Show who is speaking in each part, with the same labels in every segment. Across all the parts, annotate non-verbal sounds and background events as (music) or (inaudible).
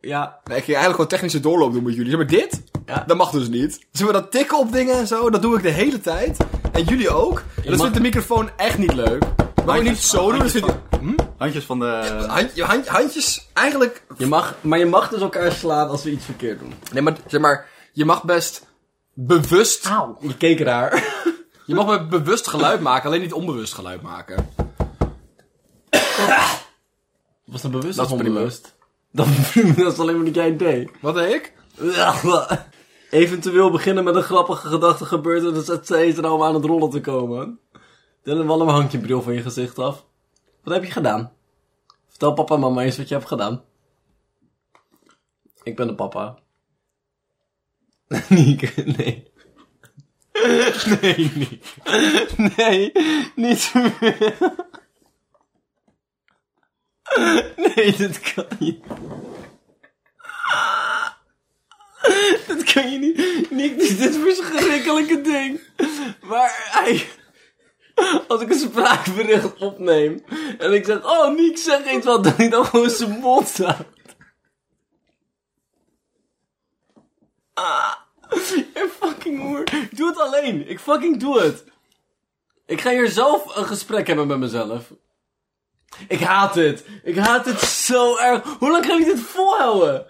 Speaker 1: Ja,
Speaker 2: Nee, ik ging eigenlijk gewoon technische doorloop doen met jullie. Zeg maar dit,
Speaker 1: Ja.
Speaker 2: dat mag dus niet. Zeg maar dat tikken op dingen en zo, dat doe ik de hele tijd. En jullie ook. En dat
Speaker 1: mag-
Speaker 2: vindt de microfoon echt niet leuk. Maar niet zo doen, dat
Speaker 3: handjes,
Speaker 2: vindt...
Speaker 3: van, handjes van de...
Speaker 2: Hm? Hand- hand- handjes, eigenlijk...
Speaker 1: je mag, maar je mag dus elkaar slaan als we iets verkeerd doen.
Speaker 2: Nee, maar zeg maar, je mag best bewust...
Speaker 1: Je keek raar.
Speaker 2: Je mag maar bewust geluid maken, alleen niet onbewust geluid maken.
Speaker 1: Was dat bewust
Speaker 2: Dat
Speaker 1: of
Speaker 2: is prima.
Speaker 1: onbewust? Dat, dat is (laughs) alleen maar dat jij het deed.
Speaker 2: Wat deed ik?
Speaker 1: (laughs) Eventueel beginnen met een grappige gedachte gebeurt en dan zet ze er allemaal aan het rollen te komen. Dan Wallem hangt je bril van je gezicht af. Wat heb je gedaan? Vertel papa en mama eens wat je hebt gedaan. Ik ben de papa. (laughs) Niek, nee. (laughs) Nee, Niek. Nee, niet meer. (laughs) Nee, dit kan niet. (laughs) Dat kan je niet. Nick doet dit verschrikkelijke ding. Waar hij. Als ik een spraakbericht opneem. En ik zeg: Oh, Nick, zeg iets wat. Dan hij dan gewoon zijn mond houdt. Ah. Je fucking hoer. Ik doe het alleen. Ik fucking doe het. Ik ga hier zelf een gesprek hebben met mezelf. Ik haat dit. Ik haat dit zo erg. Hoe lang kan ik dit volhouden?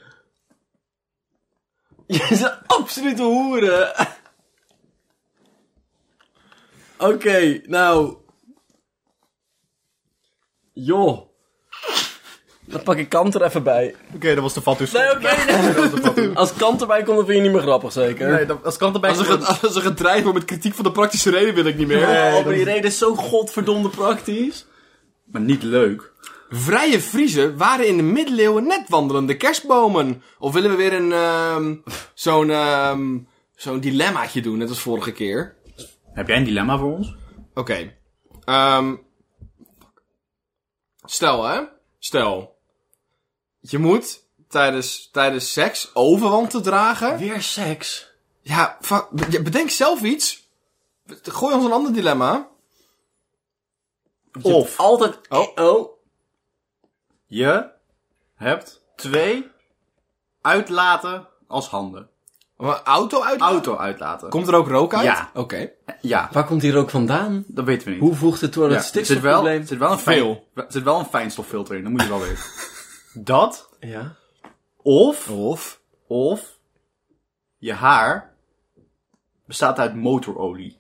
Speaker 1: Je is een absolute hoeren. Oké, nou. Joh. Dan pak ik kant er even bij.
Speaker 3: Oké, dat was de dus. fatu.
Speaker 1: Nee,
Speaker 3: (laughs)
Speaker 1: oké.
Speaker 3: Dat was de fatu.
Speaker 1: Als kant erbij komt, dan vind je niet meer grappig, zeker?
Speaker 3: Nee, dat, als kant erbij...
Speaker 2: Als er, ge- als er gedreigd wordt met kritiek van de praktische reden wil ik niet meer.
Speaker 1: Oh,
Speaker 3: dat
Speaker 1: maar die
Speaker 3: is-
Speaker 1: reden is zo godverdomde praktisch.
Speaker 3: Maar niet leuk.
Speaker 2: Vrije Friezen waren in de middeleeuwen net wandelende kerstbomen. Of willen we weer een,
Speaker 3: (laughs)
Speaker 2: ehm, zo'n, ehm, zo'n dilemmaatje doen, net als vorige keer?
Speaker 3: Heb jij een dilemma voor ons?
Speaker 2: Oké. Ehm, stel, hè? Stel. Je moet tijdens, tijdens seks overwanten dragen.
Speaker 1: Weer seks.
Speaker 2: Ja, fuck, be- ja, bedenk zelf iets. Gooi ons een ander dilemma.
Speaker 3: Of
Speaker 1: Altijd.
Speaker 2: Oh.
Speaker 1: oh.
Speaker 3: je hebt twee uitlaten als handen.
Speaker 2: Een auto uit?
Speaker 3: Auto uitlaten.
Speaker 2: Komt er ook rook uit?
Speaker 3: Ja.
Speaker 2: Oké.
Speaker 3: Ja,
Speaker 1: Waar komt hier ook vandaan?
Speaker 3: dat weten we niet.
Speaker 1: Hoe voegt het toe aan
Speaker 3: Ja,
Speaker 1: het
Speaker 3: er zit wel,
Speaker 1: stikstofprobleem?
Speaker 3: er zit wel een fijn,
Speaker 2: Veel.
Speaker 3: er zit wel een fijnstoffilter in, dat moet je wel weten. (laughs) dat,
Speaker 1: Ja.
Speaker 3: of,
Speaker 2: Of?
Speaker 3: of, je haar bestaat uit motorolie.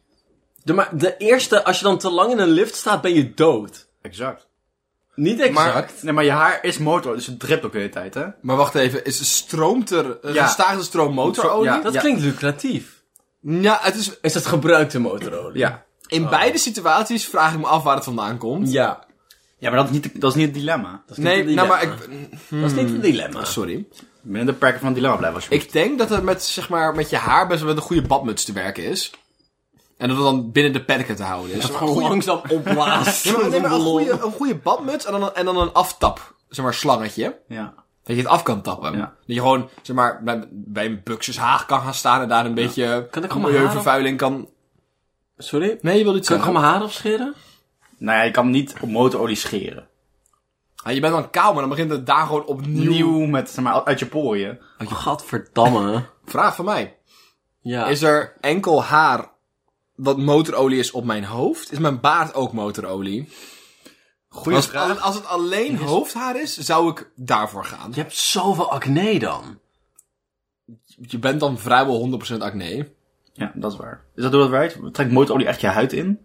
Speaker 1: De, maar de eerste, als je dan te lang in een lift staat, ben je dood.
Speaker 3: Exact.
Speaker 1: Niet exact.
Speaker 3: Nee, maar je haar is motorolie, dus het dript ook de hele tijd, hè?
Speaker 2: Maar wacht even, is stroomt er eh,
Speaker 3: Ja.
Speaker 2: gestaagde stroom motorolie?
Speaker 3: Ja.
Speaker 1: Dat klinkt lucratief.
Speaker 2: Ja, het is,
Speaker 1: Is dat gebruikte motorolie?
Speaker 3: Ja.
Speaker 2: in beide situaties vraag ik me af waar het vandaan komt.
Speaker 1: Oh. Ja.
Speaker 3: Ja, maar dat is niet, dat is niet het dilemma.
Speaker 1: Dat is
Speaker 2: Nee,
Speaker 1: niet een
Speaker 2: nou maar
Speaker 1: dilemma.
Speaker 2: ik,
Speaker 1: Dat is niet een dilemma.
Speaker 2: sorry.
Speaker 3: Binnen de perken van het dilemma blijven, alsjeblieft.
Speaker 2: Ik denk dat het met, zeg maar, met je haar best wel met een goede badmuts te werken is. En dat het dan binnen de perken te houden is.
Speaker 1: Gewoon langzaam opblaast.
Speaker 2: (laughs) Nee, maar, nee, maar een,
Speaker 1: Ballon.
Speaker 2: goede, een goede badmuts en dan, een- en dan een aftap, zeg maar, slangetje.
Speaker 3: Ja.
Speaker 2: Dat je het af kan tappen.
Speaker 3: Ja.
Speaker 2: Dat je gewoon, zeg maar, bij, bij een buxushaag kan gaan staan en daar een beetje
Speaker 1: Kan ik gewoon mijn haar
Speaker 2: milieuvervuiling kan...
Speaker 1: Sorry?
Speaker 2: Nee, je wil iets
Speaker 1: Kan ik
Speaker 2: zeggen.
Speaker 1: gewoon mijn haar afscheren?
Speaker 3: Nou ja, je kan hem niet op motorolie scheren.
Speaker 2: Ah, je bent dan kaal, maar dan begint het daar gewoon opnieuw.
Speaker 3: Nieuw met, zeg maar, uit je poriën.
Speaker 1: Gadverdamme.
Speaker 2: Vraag van mij.
Speaker 3: Ah.
Speaker 1: Ja.
Speaker 2: Is er enkel haar dat motorolie is op mijn hoofd? Is mijn baard ook motorolie?
Speaker 3: Goeie
Speaker 2: Als, al- als het alleen hoofdhaar is, zou ik daarvoor gaan.
Speaker 1: Je hebt zoveel acne dan.
Speaker 2: Je bent dan vrijwel 100% acne.
Speaker 3: Ja, dat is waar. Is dat hoe dat werkt? Trekt motorolie echt je huid in?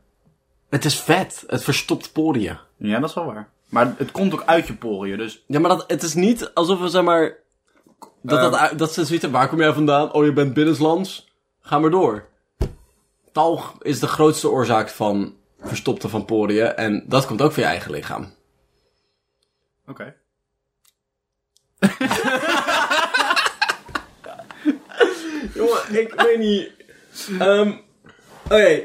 Speaker 1: Het is vet. Het verstopt poriën.
Speaker 3: Ja, dat is wel waar. Maar het komt ook uit je poriën, dus...
Speaker 1: Ja, maar dat, het is niet alsof we, zeg maar... Dat, dat, uit- dat ze zoiets hebben, waar kom jij vandaan? Oh, je bent binnenlands. Ga maar door. Talg is de grootste oorzaak van verstopte van poriën. En dat komt ook van je eigen lichaam.
Speaker 3: Oké.
Speaker 1: Jongen, ik weet niet... Ehm, Oké,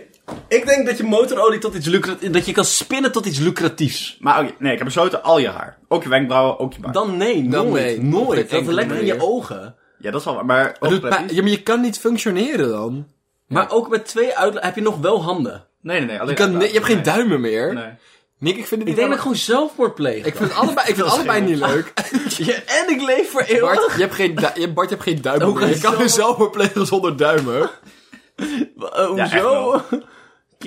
Speaker 1: ik denk dat je motorolie tot iets lucratiefs... Dat je kan spinnen tot iets lucratiefs.
Speaker 3: Maar oké, nee, ik heb besloten al je haar. Ook je wenkbrauwen, ook je baard.
Speaker 1: Dan nee,
Speaker 2: Dan
Speaker 1: nooit.
Speaker 2: nee, op geen
Speaker 1: nooit. Dat
Speaker 2: enkele
Speaker 1: lekker in je
Speaker 2: manier.
Speaker 1: ogen.
Speaker 3: Ja, dat is wel waar. Maar, ook
Speaker 2: Doet
Speaker 3: prettig.
Speaker 2: mij- ja, Dus maar je kan niet functioneren dan.
Speaker 1: Maar ook met twee uitla... Heb je nog wel handen?
Speaker 3: Nee, nee, nee. Alleen
Speaker 2: Je, kan, ni- je hebt geen duimen meer.
Speaker 3: Nee.
Speaker 2: Nick, ik vind het
Speaker 1: Ik denk dat
Speaker 2: niet
Speaker 1: ik
Speaker 2: alle-
Speaker 1: gewoon zelfmoord pleeg.
Speaker 2: ik vind het allebei, ik vind het allebei niet leuk.
Speaker 1: (laughs) Ja, en ik leef voor eeuwig.
Speaker 2: Bart, je hebt geen, du- je hebt- Bart, je hebt geen duimen
Speaker 1: Ook
Speaker 2: meer. Je
Speaker 1: een
Speaker 2: kan
Speaker 1: zomer-
Speaker 2: een zomer plegen zonder duimen.
Speaker 1: Eh,
Speaker 3: Ja, echt
Speaker 1: hoezo?
Speaker 3: wel.
Speaker 1: (laughs)
Speaker 3: Dan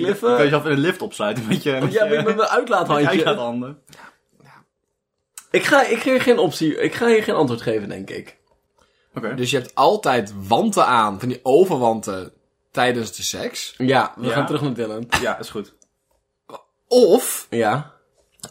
Speaker 3: kan je
Speaker 1: Cliffen?
Speaker 3: jezelf in een lift opsluiten (laughs) met je...
Speaker 1: Ja, met met mijn
Speaker 3: handje.
Speaker 1: uitlaathandje.
Speaker 3: handen.
Speaker 1: Ik ga, ik ga hier geen optie, ik ga hier geen antwoord geven, denk ik.
Speaker 3: Oké.
Speaker 2: Dus je hebt altijd wanten aan, van die overwanten, tijdens de seks.
Speaker 1: Ja, we
Speaker 3: Ja.
Speaker 1: gaan terug naar Dylan.
Speaker 3: Ja, is goed.
Speaker 2: Of,
Speaker 1: Ja.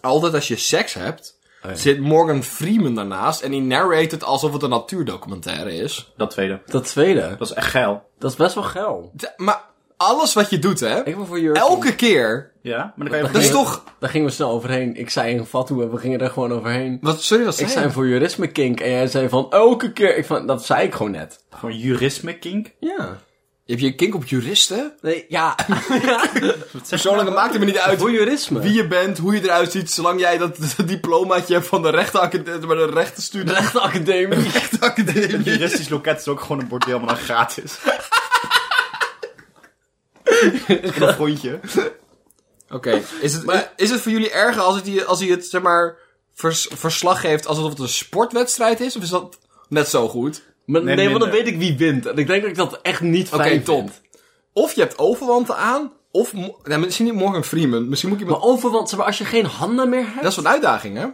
Speaker 2: altijd als je seks hebt,
Speaker 1: Oh ja.
Speaker 2: zit Morgan Freeman daarnaast en die narrate het alsof het een natuurdocumentaire is.
Speaker 3: Dat tweede.
Speaker 1: Dat tweede,
Speaker 3: Dat is echt geil.
Speaker 1: dat is best wel geil.
Speaker 2: D- maar alles wat je doet, hè,
Speaker 1: Ik ben voor Jurgen.
Speaker 2: elke keer,
Speaker 3: Ja, maar dan kan je...
Speaker 2: dat is
Speaker 3: even-
Speaker 2: toch...
Speaker 1: Daar gingen we snel overheen. Ik zei een fatsoen en we gingen daar gewoon overheen.
Speaker 2: Wat, sorry, wat
Speaker 1: Ik
Speaker 2: zei
Speaker 1: zei
Speaker 2: je?
Speaker 1: voor jurisme kink en jij zei van elke keer. Ik van, dat zei ik gewoon net.
Speaker 3: Gewoon jurisme kink.
Speaker 1: Ja.
Speaker 2: Heb je een kink op juristen?
Speaker 1: Nee, ja.
Speaker 3: Wat zeg je nou?
Speaker 2: Persoonlijk maakt het me niet uit
Speaker 1: Voor jurisme.
Speaker 2: wie je bent, hoe je eruit ziet, zolang jij dat, (laughs) dat diplomaatje hebt van de rechtenacademie, bij de rechtenstudie.
Speaker 1: Rechtenacademie.
Speaker 2: (laughs)
Speaker 3: Een
Speaker 2: Rechtenacademie.
Speaker 3: juristisch loket is ook gewoon een bordeel, maar dan gratis. In een grondje.
Speaker 2: Oké, is, het- is het voor jullie erger als, het, hier- als hij het, zeg maar, vers- verslag geeft alsof het een sportwedstrijd is? Of is dat net zo goed?
Speaker 1: (laughs) Maar, nee,
Speaker 3: Nee,
Speaker 1: want dan
Speaker 3: minder.
Speaker 1: weet ik wie wint. En ik denk dat ik dat echt niet fijn
Speaker 2: Oké, top.
Speaker 1: vind.
Speaker 2: Of je hebt overwanten aan, of... mo- Nou, misschien niet Morgan Freeman. Misschien moet je...
Speaker 1: Maar overwant, zeg maar, als je geen handen meer hebt...
Speaker 2: Dat is wel een uitdaging, hè?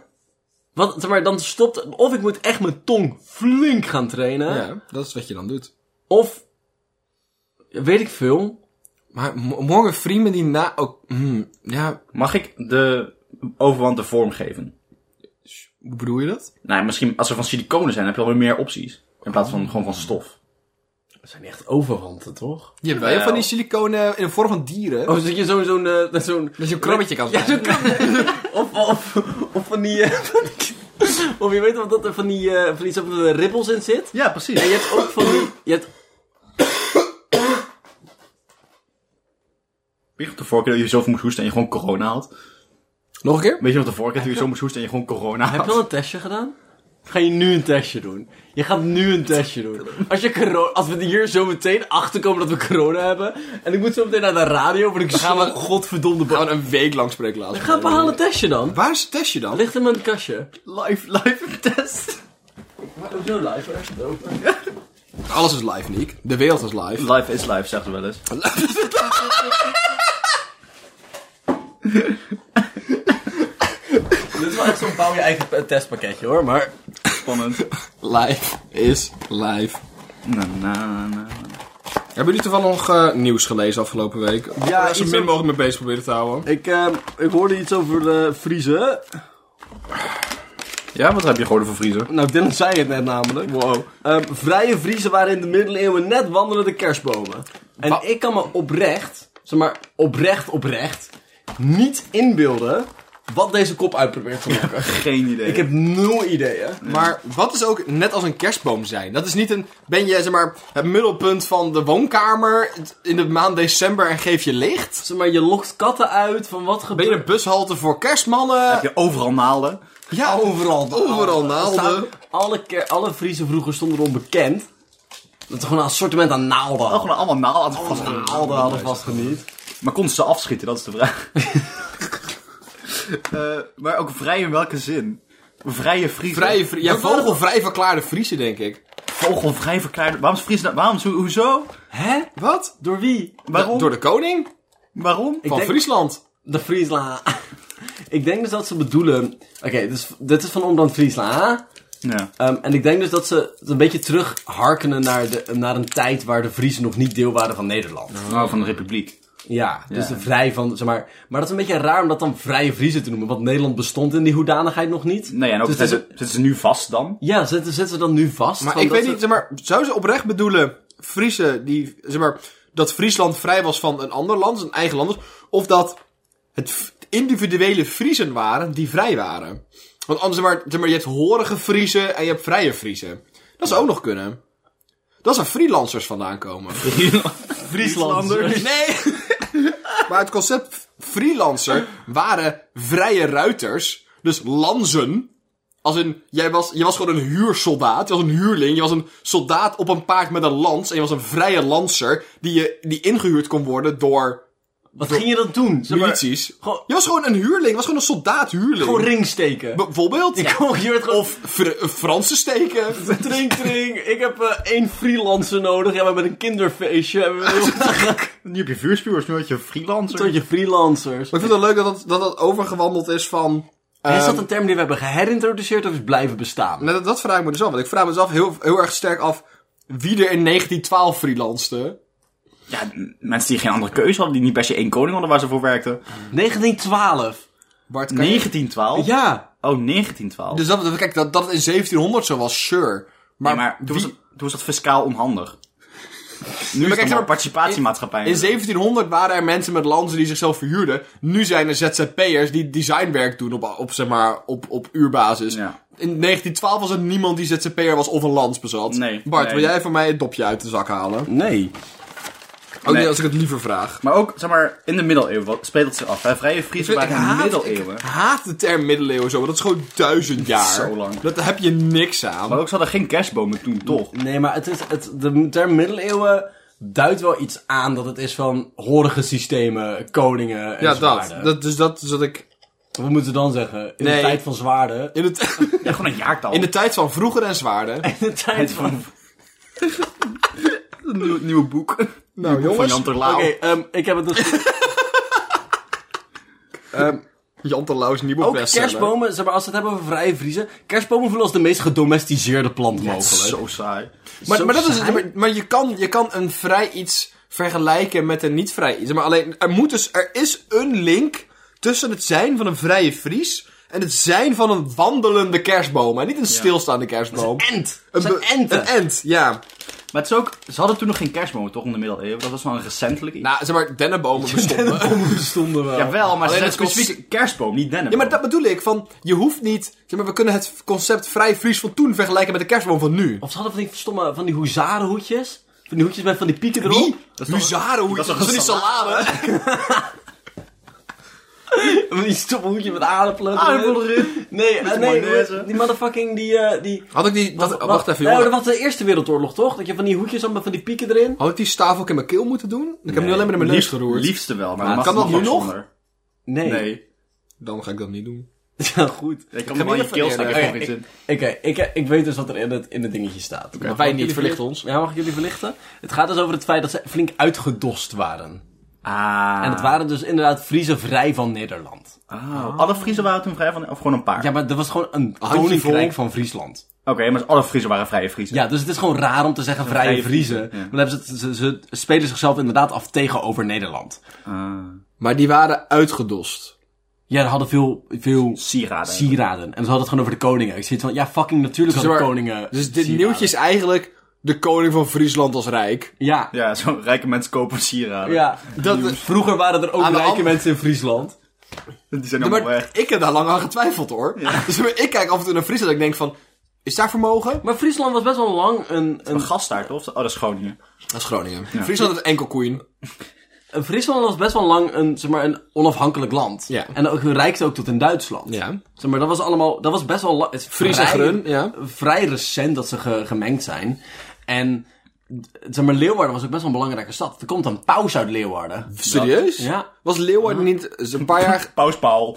Speaker 1: Wat, zeg maar, dan stopt... Of ik moet echt mijn tong flink gaan trainen.
Speaker 2: Ja, dat is wat je dan doet.
Speaker 1: Of... Weet ik veel.
Speaker 2: Maar Mo- Morgan Freeman die na... Ook, hmm, ja,
Speaker 3: Mag ik de overwand de vorm geven?
Speaker 2: hoe bedoel je dat?
Speaker 3: Nou, misschien als er van siliconen zijn, heb je alweer meer opties. In plaats van gewoon van stof.
Speaker 1: Dat zijn niet echt overwanten, toch?
Speaker 2: Je hebt wel van die siliconen in de vorm van dieren.
Speaker 1: Oh, dat je zo'n... zo'n eh, dat zo'n
Speaker 2: Dat je een krabbetje kan
Speaker 1: Ja,
Speaker 2: zijn.
Speaker 1: zo'n krab- (laughs) of, of, of van die... eh, van die- of je weet wat dat er van die, eh, van die soort van ribbels in zit.
Speaker 3: Ja, precies.
Speaker 1: En je hebt ook van die... Je hebt
Speaker 3: Weet je nog de vorige keer dat je zo moest hoesten en je gewoon corona had?
Speaker 2: Nog een keer?
Speaker 3: Weet je nog de vorige keer dat je zo moest hoesten en je gewoon corona
Speaker 1: Heb je al
Speaker 3: had?
Speaker 1: een testje gedaan? Ga je nu een testje doen? Je gaat nu een testje doen. Als, je corona, als we hier zo meteen achterkomen dat we corona hebben. En ik moet zo meteen naar de radio. Word ik
Speaker 2: gaan
Speaker 1: zo
Speaker 2: we-
Speaker 1: godverdomde
Speaker 2: We
Speaker 1: bo-
Speaker 2: gaan een week lang spreken laten.
Speaker 1: Ga behalen een testje dan.
Speaker 2: Waar is het testje dan?
Speaker 1: Ligt hem in het kastje.
Speaker 3: Live, live test.
Speaker 1: Hoezo live? Echt open.
Speaker 2: Alles is live, Nick. De wereld is live.
Speaker 3: Live is live, zegt ze wel eens.
Speaker 1: (laughs) Dit is wel echt zo'n bouw je eigen p- testpakketje hoor. Maar
Speaker 3: Spannend.
Speaker 2: Live is live.
Speaker 3: Na, na, na.
Speaker 2: Hebben jullie toevallig nog eh, nieuws gelezen afgelopen week?
Speaker 1: Ja,
Speaker 2: Ja, zo
Speaker 1: iets
Speaker 2: min
Speaker 1: over-
Speaker 2: mogelijk mee bezig proberen te houden.
Speaker 1: ik, ehm, ik hoorde iets over vriezen.
Speaker 3: Ja, wat heb je gehoord voor vriezer?
Speaker 1: Nou, Dylan zei het net namelijk. Wow. vrije vriezen waren in de middeleeuwen net wandelende kerstbomen. En
Speaker 2: Wa-
Speaker 1: ik kan me oprecht, zeg maar oprecht, oprecht, niet inbeelden wat deze kop uitprobeert te (laughs) maken.
Speaker 3: Geen idee.
Speaker 1: Ik heb nul ideeën.
Speaker 2: Maar wat is ook net als een kerstboom zijn? Dat is niet een. Ben je zeg maar het middelpunt van de woonkamer in de maand december en geef je licht?
Speaker 1: Zeg maar, je lokt katten uit van wat
Speaker 2: Ben je
Speaker 1: gebeurt
Speaker 2: een bushalte voor kerstmannen?
Speaker 3: Heb je overal naalden?
Speaker 2: Ja,
Speaker 1: overal.
Speaker 2: overal
Speaker 1: Er staan-
Speaker 2: naalden.
Speaker 1: Alle, ker- alle vriezen vroeger stonden erom bekend. Dat er gewoon een assortiment aan naalden
Speaker 3: Oh,
Speaker 1: hadden.
Speaker 3: gewoon allemaal naalden. vastgehouden.
Speaker 1: Naalden hadden vastgeniet.
Speaker 3: Maar konden ze afschieten, dat is de vraag. (laughs) Eh, maar ook vrij in welke zin? Vrije vriezer.
Speaker 2: Vrije, vri- ja,
Speaker 1: Dat waren-
Speaker 2: vogelvrij verklaarde Friese, denk ik.
Speaker 3: Vogelvrij verklaard. Waarom is vriezen dat? Waarom? Zo- Hoezo?
Speaker 1: Hè?
Speaker 2: Wat?
Speaker 1: Door wie?
Speaker 3: Waarom?
Speaker 2: Door de koning
Speaker 3: Waarom?
Speaker 1: Ik
Speaker 2: van
Speaker 1: denk-
Speaker 2: Friesland.
Speaker 1: De Friesla. (laughs) ik denk dus dat ze bedoelen. Oké, dus, dit is van Ombrand Friesla.
Speaker 3: Ja.
Speaker 1: Ehm, en ik denk dus dat ze het een beetje terug harkenen naar, de, naar een tijd waar de Friesen nog niet deel waren van Nederland.
Speaker 3: Nou, van de republiek.
Speaker 1: Ja, dus de vrij van, zeg maar. Maar dat is een beetje raar om dat dan vrije Friesen te noemen, want Nederland bestond in die hoedanigheid nog niet.
Speaker 3: Nee, en ook
Speaker 1: Dus het is
Speaker 3: zitten, zitten ze nu vast dan?
Speaker 1: Ja, zetten, zetten ze dan nu vast?
Speaker 2: Maar
Speaker 1: van
Speaker 2: ik
Speaker 1: dat
Speaker 2: weet
Speaker 1: ze-
Speaker 2: niet, zeg maar, zou ze oprecht bedoelen Friese die, zeg maar, dat Friesland vrij was van een ander land, zijn eigen land, of dat het f- individuele Friesen waren die vrij waren? Want anders, zeg maar, zeg maar, je hebt horige Friese en je hebt vrije Friese. Dat zou ook nog kunnen. Dat zou freelancers vandaan komen.
Speaker 1: (laughs) Frieslanders.
Speaker 2: Nee! maar het concept freelancer waren vrije ruiters, dus lanzen. Als een, jij was, je was gewoon een huursoldaat, je was een huurling, je was een soldaat op een paard met een lans en je was een vrije lancer die, je, die ingehuurd kon worden door
Speaker 1: Wat ging je dan doen? Zeg maar,
Speaker 2: Milities.
Speaker 1: gewoon-
Speaker 2: Je was gewoon een huurling. Je was gewoon een soldaat huurling.
Speaker 1: gewoon ring steken.
Speaker 2: Bijvoorbeeld.
Speaker 1: Ik hoor je werd gewoon...
Speaker 2: Of Fr- eh, Fransen
Speaker 1: (laughs)
Speaker 2: steken.
Speaker 1: Tring, tring. Ik heb eh, één freelancer nodig. Ja, we hebben een kinderfeestje. En (laughs) we
Speaker 3: Nu heb je vuurspuwers, nu had je een freelancer.
Speaker 1: Tot je freelancers.
Speaker 2: Maar ik vind het wel leuk dat dat, dat, dat overgewandeld is van... ehm,
Speaker 1: is dat een term die we hebben geherintroduceerd of is blijven bestaan?
Speaker 2: Nou, dat, dat vraag ik me dus af. Want ik vraag me dus af, heel, heel erg sterk af, wie er in 1912 freelanste.
Speaker 3: Ja, m- mensen die geen andere keuze hadden, die niet per se één koning hadden waar ze voor werkten.
Speaker 1: 1912.
Speaker 2: Bart, kan je-
Speaker 3: 1912?
Speaker 1: Ja.
Speaker 3: Oh, 1912.
Speaker 2: Dus dat, kijk, dat, dat het in 1700 zo was, sure. Maar,
Speaker 3: Nee, maar toen, was
Speaker 2: wie-
Speaker 3: dat, toen was dat fiscaal onhandig. Nu
Speaker 2: kijk,
Speaker 3: is het
Speaker 2: zeg
Speaker 3: allemaal
Speaker 2: maar,
Speaker 3: participatiemaatschappij.
Speaker 2: in 1700 waren er mensen met lansen die zichzelf verhuurden. Nu zijn er ZZP'ers die designwerk doen op, op, zeg maar, op, op uurbasis.
Speaker 3: Ja.
Speaker 2: In 1912 was er niemand die ZZP'er was of een lans bezat.
Speaker 3: Nee,
Speaker 2: Bart,
Speaker 3: nee.
Speaker 2: wil jij van mij het dopje uit de zak halen? Oh
Speaker 1: Nee.
Speaker 2: nee,
Speaker 3: Nee.
Speaker 2: als ik het liever vraag.
Speaker 3: Maar ook, zeg maar, in de middeleeuwen wat speelt dat zich af. Hè? Vrije
Speaker 2: Ik,
Speaker 3: Friese
Speaker 2: vind- ik
Speaker 3: waren in de
Speaker 2: haat,
Speaker 3: middeleeuwen.
Speaker 2: ik haat de term middeleeuwen zo, want dat is gewoon duizend jaar.
Speaker 3: Zo lang.
Speaker 2: Dat heb je niks aan.
Speaker 3: Maar ook, ze hadden geen kerstbomen toen, toch?
Speaker 1: Nee, maar het is, het, de term middeleeuwen duidt wel iets aan dat het is van horige systemen, koningen en
Speaker 2: ja, dat.
Speaker 1: zwaarden.
Speaker 2: dat. Dus dat is dat ik...
Speaker 1: Wat moeten we dan zeggen? In de
Speaker 2: Nee.
Speaker 1: tijd van zwaarden.
Speaker 2: In de,
Speaker 3: Ja, gewoon een jaartal. (laughs)
Speaker 2: in de tijd van vroeger en zwaarden.
Speaker 1: In de tijd van...
Speaker 3: een nieuw, nieuwe boek.
Speaker 2: (laughs) Nou
Speaker 3: Van
Speaker 2: jongens,
Speaker 3: Jan
Speaker 2: Jan,
Speaker 3: Terlouw.
Speaker 1: Oké,
Speaker 3: (laughs)
Speaker 1: ehm, ik heb het dus...
Speaker 2: Terlouw's nieuwe
Speaker 1: Ook
Speaker 2: bestseller.
Speaker 1: kerstbomen, zeg maar, als we het hebben over vrije vriezen. Kerstbomen voelen als de meest gedomesticeerde plant mogelijk.
Speaker 3: Zo saai.
Speaker 2: Maar,
Speaker 1: Zo
Speaker 2: maar, dat is,
Speaker 1: saai.
Speaker 2: maar, maar je, kan, je kan een vrij iets vergelijken met een niet vrij iets. Maar alleen, er, moet dus, er is een link tussen het zijn van een vrije Fries en het zijn van een wandelende kerstboom. En niet een stilstaande kerstboom.
Speaker 1: Ent! Het zijn
Speaker 2: be-
Speaker 1: enten!
Speaker 2: Een ent, ja.
Speaker 3: Maar het is ook, ze hadden toen nog geen kerstbomen, toch, in de middeleeuwen? Dat was wel een recentelijk iets.
Speaker 2: Nou, zeg maar, dennenbomen bestonden.
Speaker 1: Kerstbomen bestonden wel.
Speaker 3: Jawel, maar ze
Speaker 2: Alleen
Speaker 3: zetten
Speaker 2: het kost-
Speaker 3: specifiek een kerstboom, niet dennen.
Speaker 2: Ja, maar dat bedoel ik. Van, je hoeft niet... Zeg maar, we kunnen het concept vrij Fries van toen vergelijken met de kerstboom van nu.
Speaker 1: Of ze hadden van die stomme, van die hoezarenhoedjes. Van die hoedjes met van die pieken erop.
Speaker 2: Wie?
Speaker 3: is toch-
Speaker 2: Huzaren, hoe
Speaker 3: dat
Speaker 2: is
Speaker 3: is
Speaker 2: dat?
Speaker 3: toch
Speaker 2: Dat is
Speaker 3: een
Speaker 2: niet salade.
Speaker 1: Van die stomme hoedje met aardappelen.
Speaker 3: Aardappelen erin.
Speaker 1: Nee, eh, nee,
Speaker 3: mayonaise.
Speaker 1: die Oh, motherfucking die... eh, die
Speaker 2: Had ik (laughs) die... Dat,
Speaker 1: Wa-
Speaker 2: wacht even,
Speaker 1: Nee,
Speaker 2: jongen.
Speaker 1: dat was de Eerste Wereldoorlog, toch? Dat je van die hoedjes had met van die pieken erin.
Speaker 2: Had ik die staaf ook in mijn keel moeten doen? Ik heb nu alleen maar in mijn neus geroerd.
Speaker 3: Liefste wel, maar,
Speaker 2: Maar
Speaker 3: mag
Speaker 2: kan
Speaker 3: het
Speaker 2: dat
Speaker 3: mag
Speaker 2: nu
Speaker 3: wel
Speaker 2: nog?
Speaker 3: zonder.
Speaker 1: Nee.
Speaker 3: Nee.
Speaker 2: Dan ga ik dat niet doen.
Speaker 1: (laughs) Ja, goed.
Speaker 3: Ik
Speaker 2: ga
Speaker 3: kan wel in je
Speaker 2: niet
Speaker 3: keel
Speaker 2: even
Speaker 3: steken,
Speaker 2: eerder.
Speaker 3: gewoon iets in.
Speaker 1: Oké, ik, ik weet dus wat er in het, in het dingetje staat. Maar
Speaker 2: wij niet,
Speaker 1: jullie
Speaker 2: verlicht ons.
Speaker 1: Ja, mag ik jullie verlichten? Het gaat dus over het feit dat ze flink uitgedost waren.
Speaker 3: Ah.
Speaker 1: En het waren dus inderdaad Friese vrij van Nederland.
Speaker 3: Ah. Alle Friese waren toen vrij van... Of gewoon een paar?
Speaker 1: Ja, maar er was gewoon een
Speaker 2: Ah. Handjevol.
Speaker 1: koninkrijk van Friesland.
Speaker 3: Oké, maar alle Friese waren vrije Friese.
Speaker 1: Ja, dus het is gewoon raar om te zeggen vrije
Speaker 3: vrije
Speaker 1: Vriezen.
Speaker 3: Friezen, ja.
Speaker 1: Maar dan hebben ze, het- ze, ze spelen zichzelf inderdaad af tegenover Nederland.
Speaker 3: Ah.
Speaker 2: Maar die waren uitgedost.
Speaker 1: Ja, ze hadden veel, veel
Speaker 3: sieraden.
Speaker 1: sieraden. En ze hadden het gewoon over de koningen. Ik zie het van, ja, fucking natuurlijk hadden
Speaker 2: Zeg maar,
Speaker 1: koningen
Speaker 2: Dus dit
Speaker 1: sieraden.
Speaker 2: nieuwtje is eigenlijk de koning van Friesland als rijk.
Speaker 1: Ja,
Speaker 3: ja, zo'n rijke mensen kopen sieraden.
Speaker 1: ja.
Speaker 2: Dat,
Speaker 1: Vroeger waren er ook
Speaker 2: Aan de
Speaker 1: rijke
Speaker 2: andere-
Speaker 1: mensen in Friesland.
Speaker 3: Die zijn
Speaker 2: Ja,
Speaker 3: allemaal weg.
Speaker 2: maar ik heb daar lang aan getwijfeld hoor. (laughs) Dus maar ik kijk af en toe naar Friesland en ik denk van... Is daar vermogen?
Speaker 1: Maar Friesland was best wel lang een... een
Speaker 3: Een gastaard, of? Oh, dat is Groningen.
Speaker 2: Dat is Groningen. Friesland is enkel koeien.
Speaker 1: een Friesland was best wel lang een, zeg maar, een onafhankelijk land.
Speaker 2: Ja.
Speaker 1: En ook reikte ook tot in Duitsland.
Speaker 2: Ja.
Speaker 1: Zeg maar, dat was allemaal... Dat was best wel lang... het is
Speaker 2: Fries en
Speaker 1: vrij-
Speaker 2: Grun, ja.
Speaker 1: Vrij recent dat ze ge- gemengd zijn. En... Zeg maar, Leeuwarden was ook best wel een belangrijke stad. Er komt een paus uit Leeuwarden.
Speaker 2: Serieus?
Speaker 1: Ja.
Speaker 2: Was Leeuwarden niet is een paar jaar...
Speaker 3: Paus
Speaker 2: (laughs)
Speaker 3: Paul.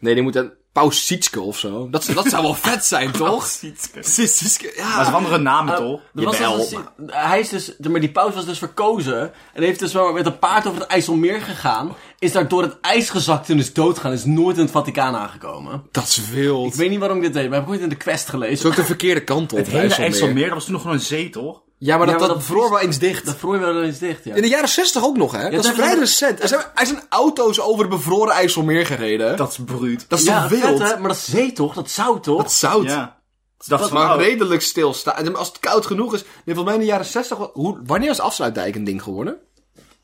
Speaker 2: Nee, die moet een Paus Sietske of zo. Dat, dat zou wel vet zijn, toch?
Speaker 3: Sietske.
Speaker 2: Sietske, ja.
Speaker 3: Maar ze andere namen, toch?
Speaker 1: Er was
Speaker 2: Jawel,
Speaker 1: dus een- hij is dus, maar die paus was dus verkozen. En heeft dus wel met een paard over het IJsselmeer gegaan. Is daar door het ijs gezakt en is doodgaan. Is nooit in het Vaticaan aangekomen.
Speaker 2: Dat is wild.
Speaker 1: Ik weet niet waarom ik dit deed, maar ik heb ooit in de quest
Speaker 2: Het
Speaker 1: gelezen.
Speaker 2: is ook de verkeerde kant op.
Speaker 3: Het hele IJsselmeer, dat was toen nog gewoon een zee, toch?
Speaker 2: Ja, maar dat,
Speaker 1: Ja, maar
Speaker 2: dat
Speaker 1: dat-
Speaker 2: vroor wel eens dicht.
Speaker 1: Dat vroeg je wel eens dicht, ja.
Speaker 2: In de jaren 60 ook nog, hè? dat is
Speaker 1: hebben
Speaker 2: vrij
Speaker 1: ze-
Speaker 2: recent. Er zijn, er zijn auto's over het bevroren IJsselmeer gereden. Dat,
Speaker 3: Dat is bruut.
Speaker 2: is
Speaker 1: ja,
Speaker 2: toch wild?
Speaker 1: vet, hè? maar dat is zee toch? Dat zout toch?
Speaker 2: dat is zout.
Speaker 3: Ja. Ze dachten
Speaker 2: Dat
Speaker 3: van,
Speaker 2: maar
Speaker 3: oh,
Speaker 2: redelijk stilstaan. En Als het koud genoeg is. Nee, volgens mij in de jaren 60. wa- Hoe, wanneer is Afsluitdijk een ding geworden?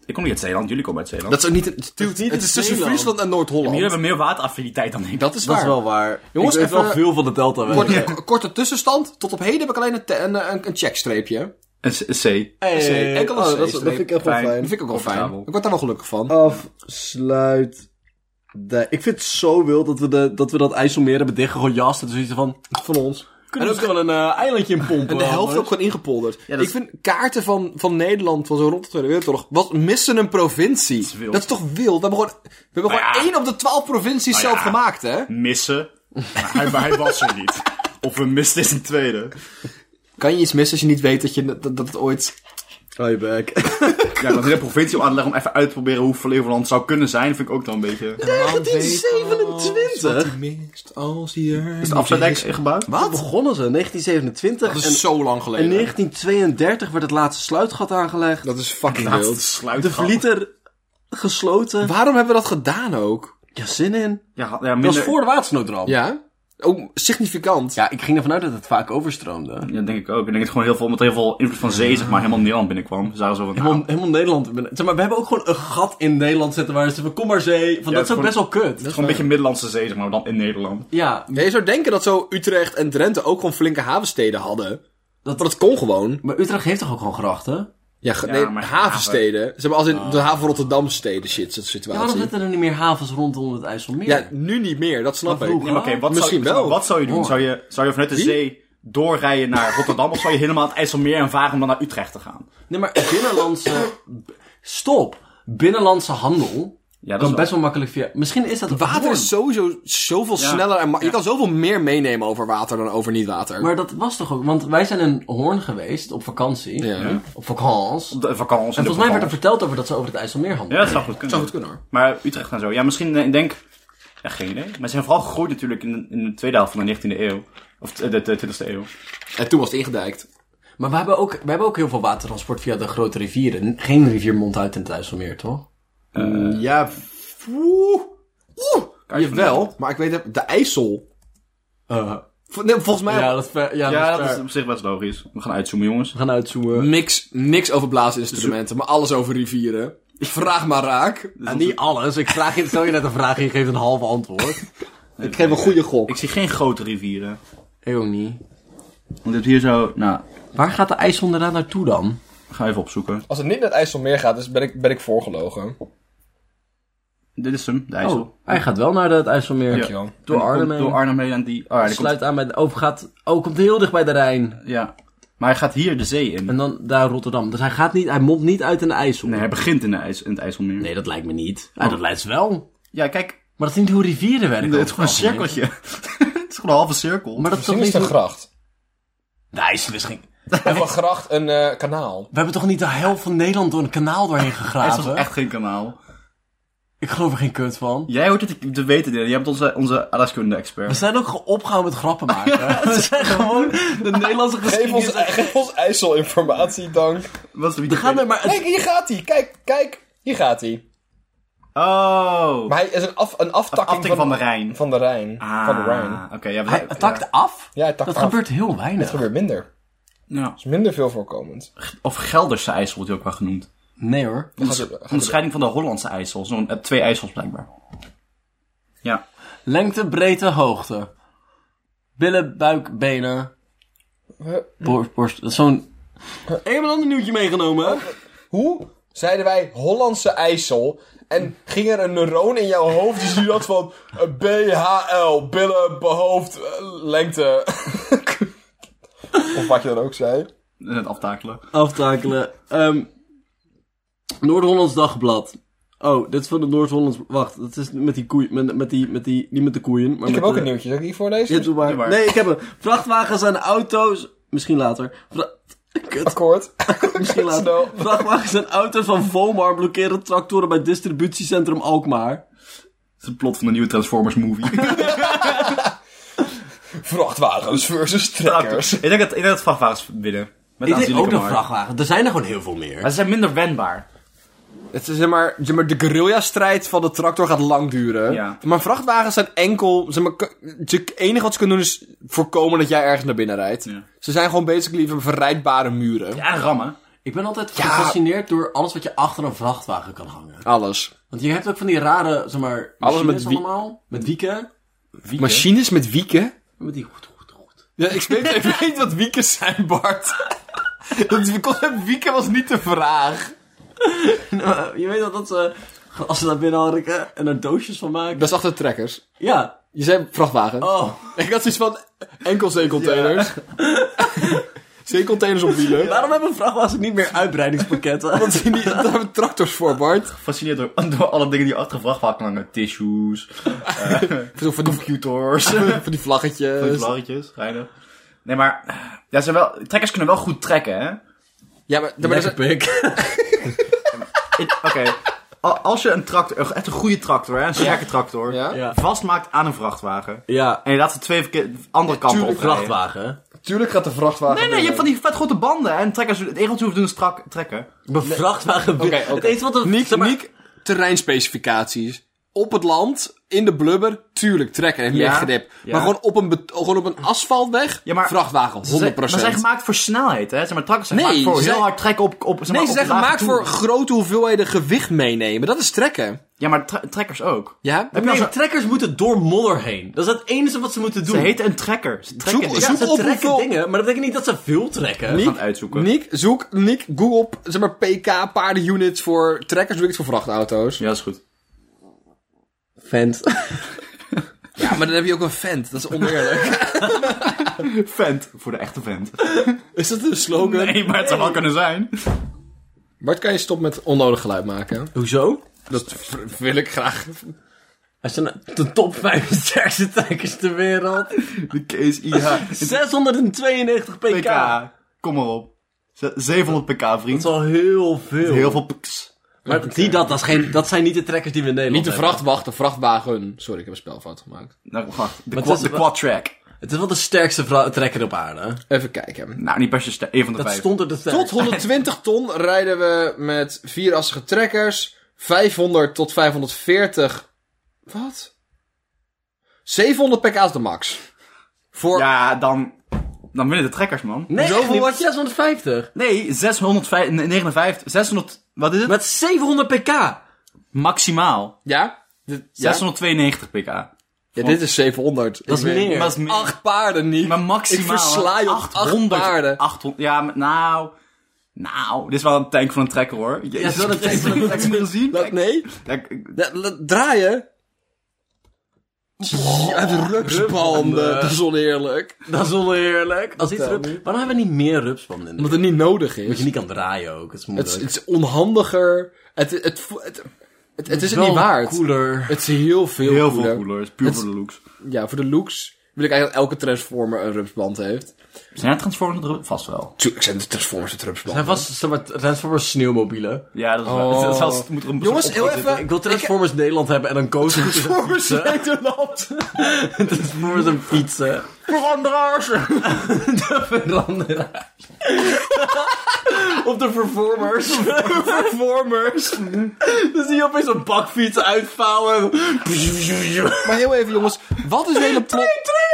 Speaker 3: ik kom niet uit Zeeland, jullie komen uit Zeeland.
Speaker 2: Dat is ook niet. Het, het,
Speaker 1: niet in
Speaker 2: is tussen
Speaker 1: Zeeland.
Speaker 2: Friesland en Noord-Holland.
Speaker 3: Jullie hebben meer wateraffiniteit dan ik.
Speaker 2: Dat is
Speaker 1: Dat
Speaker 2: waar.
Speaker 1: is wel waar.
Speaker 2: Jongens,
Speaker 1: ik weet wel
Speaker 2: even-
Speaker 1: veel van de Delta. weg.
Speaker 2: Korte, korte tussenstand. Tot op heden heb ik alleen een, te- een, een, een checkstreepje.
Speaker 3: Een c- een zee.
Speaker 1: Hey,
Speaker 2: enkel een
Speaker 1: oh, dat, is-
Speaker 2: zeestreep.
Speaker 1: dat vind ik echt wel
Speaker 3: Fijn.
Speaker 2: Dat
Speaker 1: fijn.
Speaker 2: vind ik ook wel fijn.
Speaker 3: Comfortabel.
Speaker 2: Ik word daar wel gelukkig van.
Speaker 1: Afsluit. Ik vind het zo wild dat we, de, dat, we dat IJsselmeer hebben dichtgejast. En zoiets van,
Speaker 2: Van ons.
Speaker 1: Kunnen we
Speaker 2: ook-
Speaker 1: ook wel een eh, eilandje in pompen?
Speaker 2: En de helft
Speaker 1: Albert?
Speaker 2: ook gewoon ingepolderd.
Speaker 3: Ja, dat
Speaker 2: ik
Speaker 3: is-
Speaker 2: vind kaarten van, van Nederland van zo rond de Tweede Wereldoorlog. Wat missen een provincie? Dat
Speaker 3: is
Speaker 2: is,
Speaker 3: wild.
Speaker 2: toch wild? We hebben gewoon, we hebben
Speaker 3: Nou
Speaker 2: gewoon
Speaker 3: ja.
Speaker 2: één op de twaalf provincies
Speaker 3: Nou
Speaker 2: zelf
Speaker 3: ja.
Speaker 2: gemaakt, hè?
Speaker 3: Missen. Maar hij, maar hij was er niet. Of we misten is een tweede.
Speaker 2: Kan je iets missen als je niet weet dat, je, dat, dat het ooit... Oh, je bek.
Speaker 3: Ja, dat hele provincie om aan te leggen om even uit te proberen hoe Flevoland zou kunnen zijn, vind ik ook dan een beetje... Is
Speaker 2: 1927? als hier...
Speaker 3: het afzetdijk gebouwd?
Speaker 1: Wat? begonnen ze? 1927.
Speaker 2: Dat is
Speaker 1: en,
Speaker 2: zo lang
Speaker 1: en
Speaker 2: geleden.
Speaker 1: 1932 werd het laatste sluitgat aangelegd.
Speaker 2: Dat is fucking
Speaker 3: Laatste
Speaker 2: wild.
Speaker 3: sluit.
Speaker 1: De verlieter gesloten.
Speaker 2: Waarom hebben we dat gedaan ook?
Speaker 1: Ja, zin in.
Speaker 3: Ja, ja,
Speaker 1: Dat
Speaker 3: minder...
Speaker 1: was voor de watersnoodramp.
Speaker 2: Ja? Ook significant.
Speaker 1: Ja, ik ging ervan uit dat het vaak overstroomde.
Speaker 3: Ja, denk ik ook. Ik denk het gewoon heel veel, omdat heel veel invloed van zee, zeg maar, helemaal Nederland binnenkwam. Ze zagen zo van,
Speaker 1: Helemaal,
Speaker 3: nou,
Speaker 1: helemaal Nederland. ben- Zeg maar, we hebben ook gewoon een gat in Nederland zitten waar ze van kom maar zee. Van, dat is
Speaker 3: Ja,
Speaker 1: ook
Speaker 3: gewoon-
Speaker 1: best wel kut.
Speaker 3: gewoon een beetje Middellandse zee, zeg maar, maar dan in Nederland.
Speaker 1: Ja,
Speaker 2: Ja, je zou denken dat zo Utrecht en Drenthe ook gewoon flinke havensteden hadden. Dat, maar dat kon gewoon.
Speaker 1: maar Utrecht heeft toch ook gewoon grachten?
Speaker 2: Ja, ge-
Speaker 3: Ja,
Speaker 2: nee,
Speaker 3: maar-
Speaker 2: havensteden. Ze hebben als in de haven Rotterdam steden shit, zo'n
Speaker 1: Ja, waarom
Speaker 2: situatie.
Speaker 1: zitten er niet meer havens rondom het IJsselmeer?
Speaker 2: Ja, nu niet meer, dat snap
Speaker 1: Maar
Speaker 2: ik.
Speaker 1: vroeger.
Speaker 3: Nee, maar oké, wat,
Speaker 2: Misschien
Speaker 3: zou,
Speaker 2: wel.
Speaker 3: wat zou je doen?
Speaker 1: Oh.
Speaker 3: Zou je, zou je vanuit de zee doorrijden naar Rotterdam, of zou je helemaal het IJsselmeer en varen om dan naar Utrecht te gaan?
Speaker 1: Nee, maar binnenlandse... Stop! Binnenlandse handel
Speaker 3: Ja, dat
Speaker 1: kan
Speaker 3: is
Speaker 1: best wel makkelijk via... Misschien is dat... een
Speaker 2: Water
Speaker 1: vorm.
Speaker 2: is sowieso zoveel
Speaker 3: Ja.
Speaker 2: sneller en ma- je
Speaker 3: Ja.
Speaker 2: kan zoveel meer meenemen over water dan over niet water.
Speaker 1: Maar dat was toch ook... Want wij zijn in Hoorn geweest op vakantie.
Speaker 2: ja.
Speaker 3: Ja.
Speaker 1: Op vakantie.
Speaker 3: De vakantie.
Speaker 1: En volgens
Speaker 3: de
Speaker 1: mij werd er
Speaker 3: vakantie.
Speaker 1: verteld over dat ze over het IJsselmeer handelen.
Speaker 3: Ja, dat zou goed kunnen.
Speaker 2: Zou goed kunnen hoor.
Speaker 3: Maar Utrecht en zo. Ja, misschien, eh, ik denk... Ja, geen idee. Maar ze zijn vooral gegroeid natuurlijk in, in de tweede helft van de 19e eeuw. Of eh, de, de 20e eeuw.
Speaker 2: En toen was het ingedijkt.
Speaker 1: Maar we hebben, ook, we hebben ook heel veel watertransport via de grote rivieren. Geen rivier mondt uit in het IJsselmeer, toch?
Speaker 3: Eh,
Speaker 2: Ja, oeh. Oeh.
Speaker 3: Kan je
Speaker 2: Jawel, maar ik weet het, de IJssel. Vo- nee, volgens mij
Speaker 1: ja, dat is ver- ja,
Speaker 3: Ja,
Speaker 1: dat is
Speaker 3: dat is
Speaker 1: ver.
Speaker 3: op zich best logisch. We gaan uitzoomen, jongens.
Speaker 1: We gaan uitzoomen.
Speaker 2: niks, niks over blaasinstrumenten, maar alles over rivieren. Vraag maar raak.
Speaker 1: Nou, niet alles. Ik vraag je, stel je net een vraag en je geeft een halve antwoord. (laughs)
Speaker 2: Ik geef een goede gok.
Speaker 3: Ik zie geen grote rivieren.
Speaker 1: Ik ook niet.
Speaker 3: Want je hebt hier zo... Nou,
Speaker 1: Waar gaat de IJssel inderdaad naartoe dan?
Speaker 3: ga even opzoeken.
Speaker 2: Als het niet naar het IJsselmeer gaat, dus ben ik, ben ik voorgelogen.
Speaker 3: Dit is hem, de IJssel.
Speaker 1: Oh, hij gaat wel naar het IJsselmeer.
Speaker 3: Ja.
Speaker 2: Dankjewel.
Speaker 1: Door
Speaker 3: En
Speaker 1: Arnhem
Speaker 3: komt
Speaker 1: heen.
Speaker 3: Door Arnhem heen en die... Oh, ja, die komt-
Speaker 1: Sluit aan bij de... Oh, gaat, oh, komt heel dicht bij de Rijn.
Speaker 3: ja. Maar hij gaat hier de zee in.
Speaker 1: En dan daar Rotterdam. Dus hij gaat niet... Hij mondt niet uit in de IJssel.
Speaker 3: Nee, hij begint in, de IJs, in het IJsselmeer.
Speaker 1: Nee, dat lijkt me niet. Ja, dat lijkt wel.
Speaker 3: Ja, kijk.
Speaker 1: Maar dat is niet hoe rivieren werken.
Speaker 3: Het is
Speaker 1: over
Speaker 3: gewoon een
Speaker 1: Oh. het algemeen.
Speaker 3: cirkeltje. (laughs) het is gewoon een halve cirkel.
Speaker 1: Maar dat is toch niet hoe-
Speaker 2: gracht. (laughs)
Speaker 1: De IJssel is geen...
Speaker 2: Of een gracht, een eh, kanaal.
Speaker 1: We hebben toch niet de helft van Nederland door een kanaal (laughs) doorheen
Speaker 3: hij is
Speaker 1: gegraven?
Speaker 3: toch echt geen kanaal.
Speaker 1: Ik geloof er geen kut van.
Speaker 3: Jij hoort het te weten, Dylan. Jij bent onze, onze
Speaker 1: We
Speaker 3: aardrijkskunde-expert.
Speaker 1: zijn ook ge- opgehouden met grappen (laughs) maken. We zijn gewoon de
Speaker 3: (laughs)
Speaker 1: Nederlandse geschiedenis.
Speaker 2: geef ons IJsselinformatie, dank.
Speaker 3: Wat is
Speaker 1: Er gaan er maar...
Speaker 2: Kijk, hier gaat hij. Kijk, kijk. Hier gaat hij.
Speaker 3: Oh!
Speaker 2: Maar hij is een, af, een aftakking
Speaker 3: Aftakking van de Rijn.
Speaker 2: Van de Rijn.
Speaker 3: Ah,
Speaker 2: Van de Rijn.
Speaker 3: Oké, ja, we-
Speaker 1: Hij
Speaker 3: ja.
Speaker 1: takt af?
Speaker 2: Ja, hij takt
Speaker 1: Dat
Speaker 2: af.
Speaker 1: gebeurt heel weinig.
Speaker 2: Het gebeurt minder. Het
Speaker 3: Ja.
Speaker 2: is minder veel voorkomend.
Speaker 3: Of Gelderse IJssel wordt hij ook wel genoemd.
Speaker 1: Nee hoor.
Speaker 2: Dan gaat het- gaat het-
Speaker 3: Onderscheiding van de Hollandse IJssel. Zo'n eh, twee IJssels blijkbaar. Ja.
Speaker 1: Lengte, breedte, hoogte. Billen, buik, benen.
Speaker 2: Huh?
Speaker 1: Borst, borst. Dat is zo'n... Oh. Ik heb een ander nieuwtje meegenomen. hè?
Speaker 2: Hoe zeiden wij Hollandse IJssel en ging er een neuron in jouw hoofd die zei dat van eh, BHL, billen, behoofd, eh, lengte. of wat je dan ook zei.
Speaker 3: Het aftakelen.
Speaker 1: Aftakelen. Ehm, Noord-Hollands Dagblad. Oh, dit is van het Noord-Hollands... Wacht, dat is met die koeien... Met, met die, met die, niet met de koeien, maar met
Speaker 2: Ik heb ook
Speaker 1: de-
Speaker 2: een nieuwtje, zal ik die voorlezen?
Speaker 1: Ja, doe maar.
Speaker 3: Doe maar.
Speaker 1: Nee, ik heb hem. Vrachtwagens en auto's. Misschien later.
Speaker 2: (laughs)
Speaker 1: Vra- Kut,
Speaker 2: Akkoord.
Speaker 1: misschien later.
Speaker 2: snel.
Speaker 1: Vrachtwagens en auto's van Vomar blokkeren tractoren bij distributiecentrum Alkmaar.
Speaker 3: Het is het plot van de nieuwe Transformers movie.
Speaker 2: Vrachtwagens versus trekkers.
Speaker 3: ik denk dat, ik denk dat vrachtwagens winnen. Met
Speaker 1: Ik denk ook
Speaker 3: aanzienlijke
Speaker 1: nog
Speaker 3: marge.
Speaker 1: vrachtwagen. Er zijn er gewoon heel veel meer.
Speaker 3: Maar ze zijn minder wendbaar.
Speaker 2: (laughs) Het is zeg maar, zeg maar de guerrilla-strijd van de tractor gaat lang duren.
Speaker 3: Ja.
Speaker 2: Maar vrachtwagens zijn enkel. Zeg maar, k- ze- het enige wat ze kunnen doen is voorkomen dat jij ergens naar binnen rijdt.
Speaker 3: Ja.
Speaker 2: Ze zijn gewoon basically van verrijdbare muren.
Speaker 3: Ja, en rammen.
Speaker 1: Ik ben altijd gefascineerd door alles wat je achter een vrachtwagen kan hangen.
Speaker 2: Alles.
Speaker 1: Want je hebt ook van die rare, zeg maar, machines
Speaker 2: met wie-
Speaker 1: allemaal. Met wieken. Wieken.
Speaker 2: Machines met wieken?
Speaker 1: Met die goed, goed, goed. (laughs)
Speaker 2: Ja, ik weet, ik weet wat wieken zijn, Bart. Dat concept wieken was niet de vraag.
Speaker 1: eh, Nou, je weet dat dat ze, als ze daar binnen hangen en er doosjes van maken.
Speaker 2: is achter trekkers.
Speaker 1: Ja,
Speaker 2: Je zei vrachtwagen.
Speaker 1: Oh,
Speaker 2: Ik had zoiets van enkel zeecontainers. (laughs) zeecontainers op wielen.
Speaker 1: waarom hebben vrachtwagens niet meer uitbreidingspakketten?
Speaker 2: (laughs) Want die, daar hebben we tractors voor, Bart.
Speaker 3: Gefascineerd door, (laughs) door alle dingen die achter de vrachtwagen hangen. Tissues,
Speaker 2: Voor, voor die,
Speaker 3: computers,
Speaker 2: voor die vlaggetjes.
Speaker 3: vlaggetjes, reinig. Nee, maar ja, ze zijn wel, trekkers kunnen wel goed trekken, hè?
Speaker 2: Ja, maar, maar dat
Speaker 1: Lekker
Speaker 2: is-
Speaker 1: pik.
Speaker 3: Ik- Oké, (laughs) a- als je een tractor, een- echt een goede tractor, hè, een sterke tractor,
Speaker 2: Ja?
Speaker 1: Ja.
Speaker 3: vastmaakt aan een vrachtwagen.
Speaker 1: Ja,
Speaker 3: En je laat ze twee verkeer- andere kanten
Speaker 2: Tuurlijk,
Speaker 3: op.
Speaker 1: vrachtwagen.
Speaker 2: Tuurlijk gaat de vrachtwagen.
Speaker 3: Nee, nee, je hebt van die vet grote banden hè, en trekkers, het enige wat je hoeft te doen is trak, trekken.
Speaker 1: Een vrachtwagen.
Speaker 2: Oké, oké.
Speaker 1: Het enige wat er-
Speaker 2: Niek,
Speaker 1: zeg maar-
Speaker 2: Niek, terreinspecificaties. Op het land, in de blubber, tuurlijk trekken heeft
Speaker 3: Ja,
Speaker 2: meer grip.
Speaker 3: ja.
Speaker 2: Maar gewoon op een, bet- gewoon op een asfaltweg,
Speaker 3: Ja, maar-
Speaker 2: vrachtwagen, 100%.
Speaker 3: Ze zijn- Maar ze zijn gemaakt voor snelheid, hè? Zeg maar, trakkers zijn
Speaker 2: Nee,
Speaker 3: gemaakt voor
Speaker 2: ze
Speaker 3: heel
Speaker 2: zijn-
Speaker 3: hard trekken op... op zeg maar,
Speaker 2: nee, ze
Speaker 3: op
Speaker 2: zijn
Speaker 3: lage
Speaker 2: gemaakt
Speaker 3: toeren.
Speaker 2: voor grote hoeveelheden gewicht meenemen. Dat is trekken.
Speaker 3: Ja, maar tra- trekkers ook.
Speaker 2: Ja?
Speaker 3: Heb je
Speaker 1: Nee,
Speaker 3: al zo-
Speaker 1: nou trekkers moeten door modder heen. Dat is het enige wat ze moeten doen.
Speaker 3: Ze heten een trekker. Ze trekken
Speaker 2: Zoek-
Speaker 3: dingen.
Speaker 1: ja,
Speaker 2: zoek
Speaker 1: ze
Speaker 2: op
Speaker 1: trekken
Speaker 2: hoeveel-
Speaker 1: dingen, maar dat betekent niet dat ze veel trekken.
Speaker 3: gaan
Speaker 2: Niek,
Speaker 3: het uitzoeken.
Speaker 2: Niek, zoek, Niek, google op, zeg maar, PK paardenunits voor trekkers, doe ik het voor vrachtauto's.
Speaker 3: Ja, is goed.
Speaker 1: Vent.
Speaker 2: Ja, maar dan heb je ook een vent, dat is oneerlijk.
Speaker 3: Vent. Voor de echte vent.
Speaker 2: (laughs) is dat een slogan?
Speaker 3: Nee, maar het zou wel kunnen zijn.
Speaker 2: Bart, kan je stop met onnodig geluid maken?
Speaker 1: (laughs) Hoezo?
Speaker 2: Dat v- wil ik graag.
Speaker 1: Als je na- de top 5 sterkste trekkers ter wereld.
Speaker 3: De case IH.
Speaker 1: 692 pk.
Speaker 3: PK. Kom maar op. Ze- 700 pk,
Speaker 1: Dat
Speaker 3: vriend.
Speaker 1: is al heel veel.
Speaker 3: Heel veel pks.
Speaker 1: Maar die dat, dat, is geen, dat zijn niet de trekkers die we in Nederland
Speaker 2: Niet de
Speaker 1: hebben.
Speaker 2: vrachtwacht, de vrachtwagen. Sorry, ik heb een spelfout gemaakt.
Speaker 3: Nou, wacht. De,
Speaker 1: Wat
Speaker 3: quad,
Speaker 1: is-
Speaker 3: de quad track.
Speaker 1: Het is wel de sterkste vra- trekker op aarde.
Speaker 2: Even kijken.
Speaker 3: Nou, niet per se ster- één van de
Speaker 1: Dat
Speaker 3: vijf.
Speaker 1: stond er de sterkste.
Speaker 2: (laughs) Tot 120 ton rijden we met vierassige trekkers. 500 tot 540. Wat? 700 pk is de max. Voor.
Speaker 3: Ja, dan... Dan winnen de trekkers, man.
Speaker 1: Nee,
Speaker 2: Zoveel
Speaker 1: echt niet,
Speaker 2: was-
Speaker 1: met 650.
Speaker 3: Nee, 659... 600... Wat is het?
Speaker 1: Met 700 pk.
Speaker 3: Maximaal.
Speaker 2: Ja?
Speaker 3: 692 pk.
Speaker 2: Ja, dit is 700.
Speaker 1: Dat is
Speaker 2: Ik weet-
Speaker 1: meer.
Speaker 3: Maar dat is meer.
Speaker 2: Acht paarden niet.
Speaker 3: Maar maximaal.
Speaker 2: Ik versla je op acht
Speaker 3: 800,
Speaker 2: paarden.
Speaker 3: 800, ja, maar nou. Nou, dit is wel een tank van een trekker hoor. Jezus,
Speaker 1: Ja, dat is echt wel een tank.
Speaker 3: Heb je hem gezien?
Speaker 2: Laat-
Speaker 3: Kijk,
Speaker 2: nee?
Speaker 3: kijk,
Speaker 2: La- la- draaien? Ja, de ruksbanden. Dat is oneerlijk.
Speaker 1: Dat is oneerlijk. Als iets
Speaker 2: Vertel
Speaker 1: rup... Waarom hebben we niet meer rupsbanden in de
Speaker 2: Omdat het niet nodig
Speaker 1: Dat
Speaker 2: is.
Speaker 1: je niet kan draaien ook. Het is
Speaker 2: Het,
Speaker 1: moeilijk.
Speaker 2: is- het is onhandiger. Het, het, het, vo- het, het, het is het niet
Speaker 1: Wel
Speaker 2: waard.
Speaker 1: cooler.
Speaker 2: Het is heel veel
Speaker 3: heel
Speaker 2: cooler.
Speaker 3: veel cooler. Het is puur
Speaker 2: Het-
Speaker 3: voor de looks.
Speaker 2: Ja, voor de looks wil ik eigenlijk dat elke Transformer een rupsband heeft.
Speaker 3: Zijn er Transformers erop? Vast wel.
Speaker 2: Tuurlijk zijn de Transformers een
Speaker 1: Er
Speaker 2: rupsband.
Speaker 1: zijn vast zeg maar, Transformers sneeuwmobielen.
Speaker 3: Ja, dat is wel.
Speaker 2: Oh.
Speaker 3: (laughs) dat is wel- het moet er een
Speaker 2: Jongens,
Speaker 3: op-
Speaker 2: heel even.
Speaker 1: Ik wil Transformers Nederland hebben en dan koos ik tussen
Speaker 2: Transformers
Speaker 1: fietsen.
Speaker 2: Nederland.
Speaker 1: (laughs) Transformers en fietsen. (laughs)
Speaker 2: Veranderaars.
Speaker 1: De veranderaar.
Speaker 2: (laughs)
Speaker 1: Op de (laughs) Performers.
Speaker 2: Transformers.
Speaker 1: Dan zie je opeens een bakfiets uitvouwen.
Speaker 2: Maar heel even jongens. Wat is de hele plot?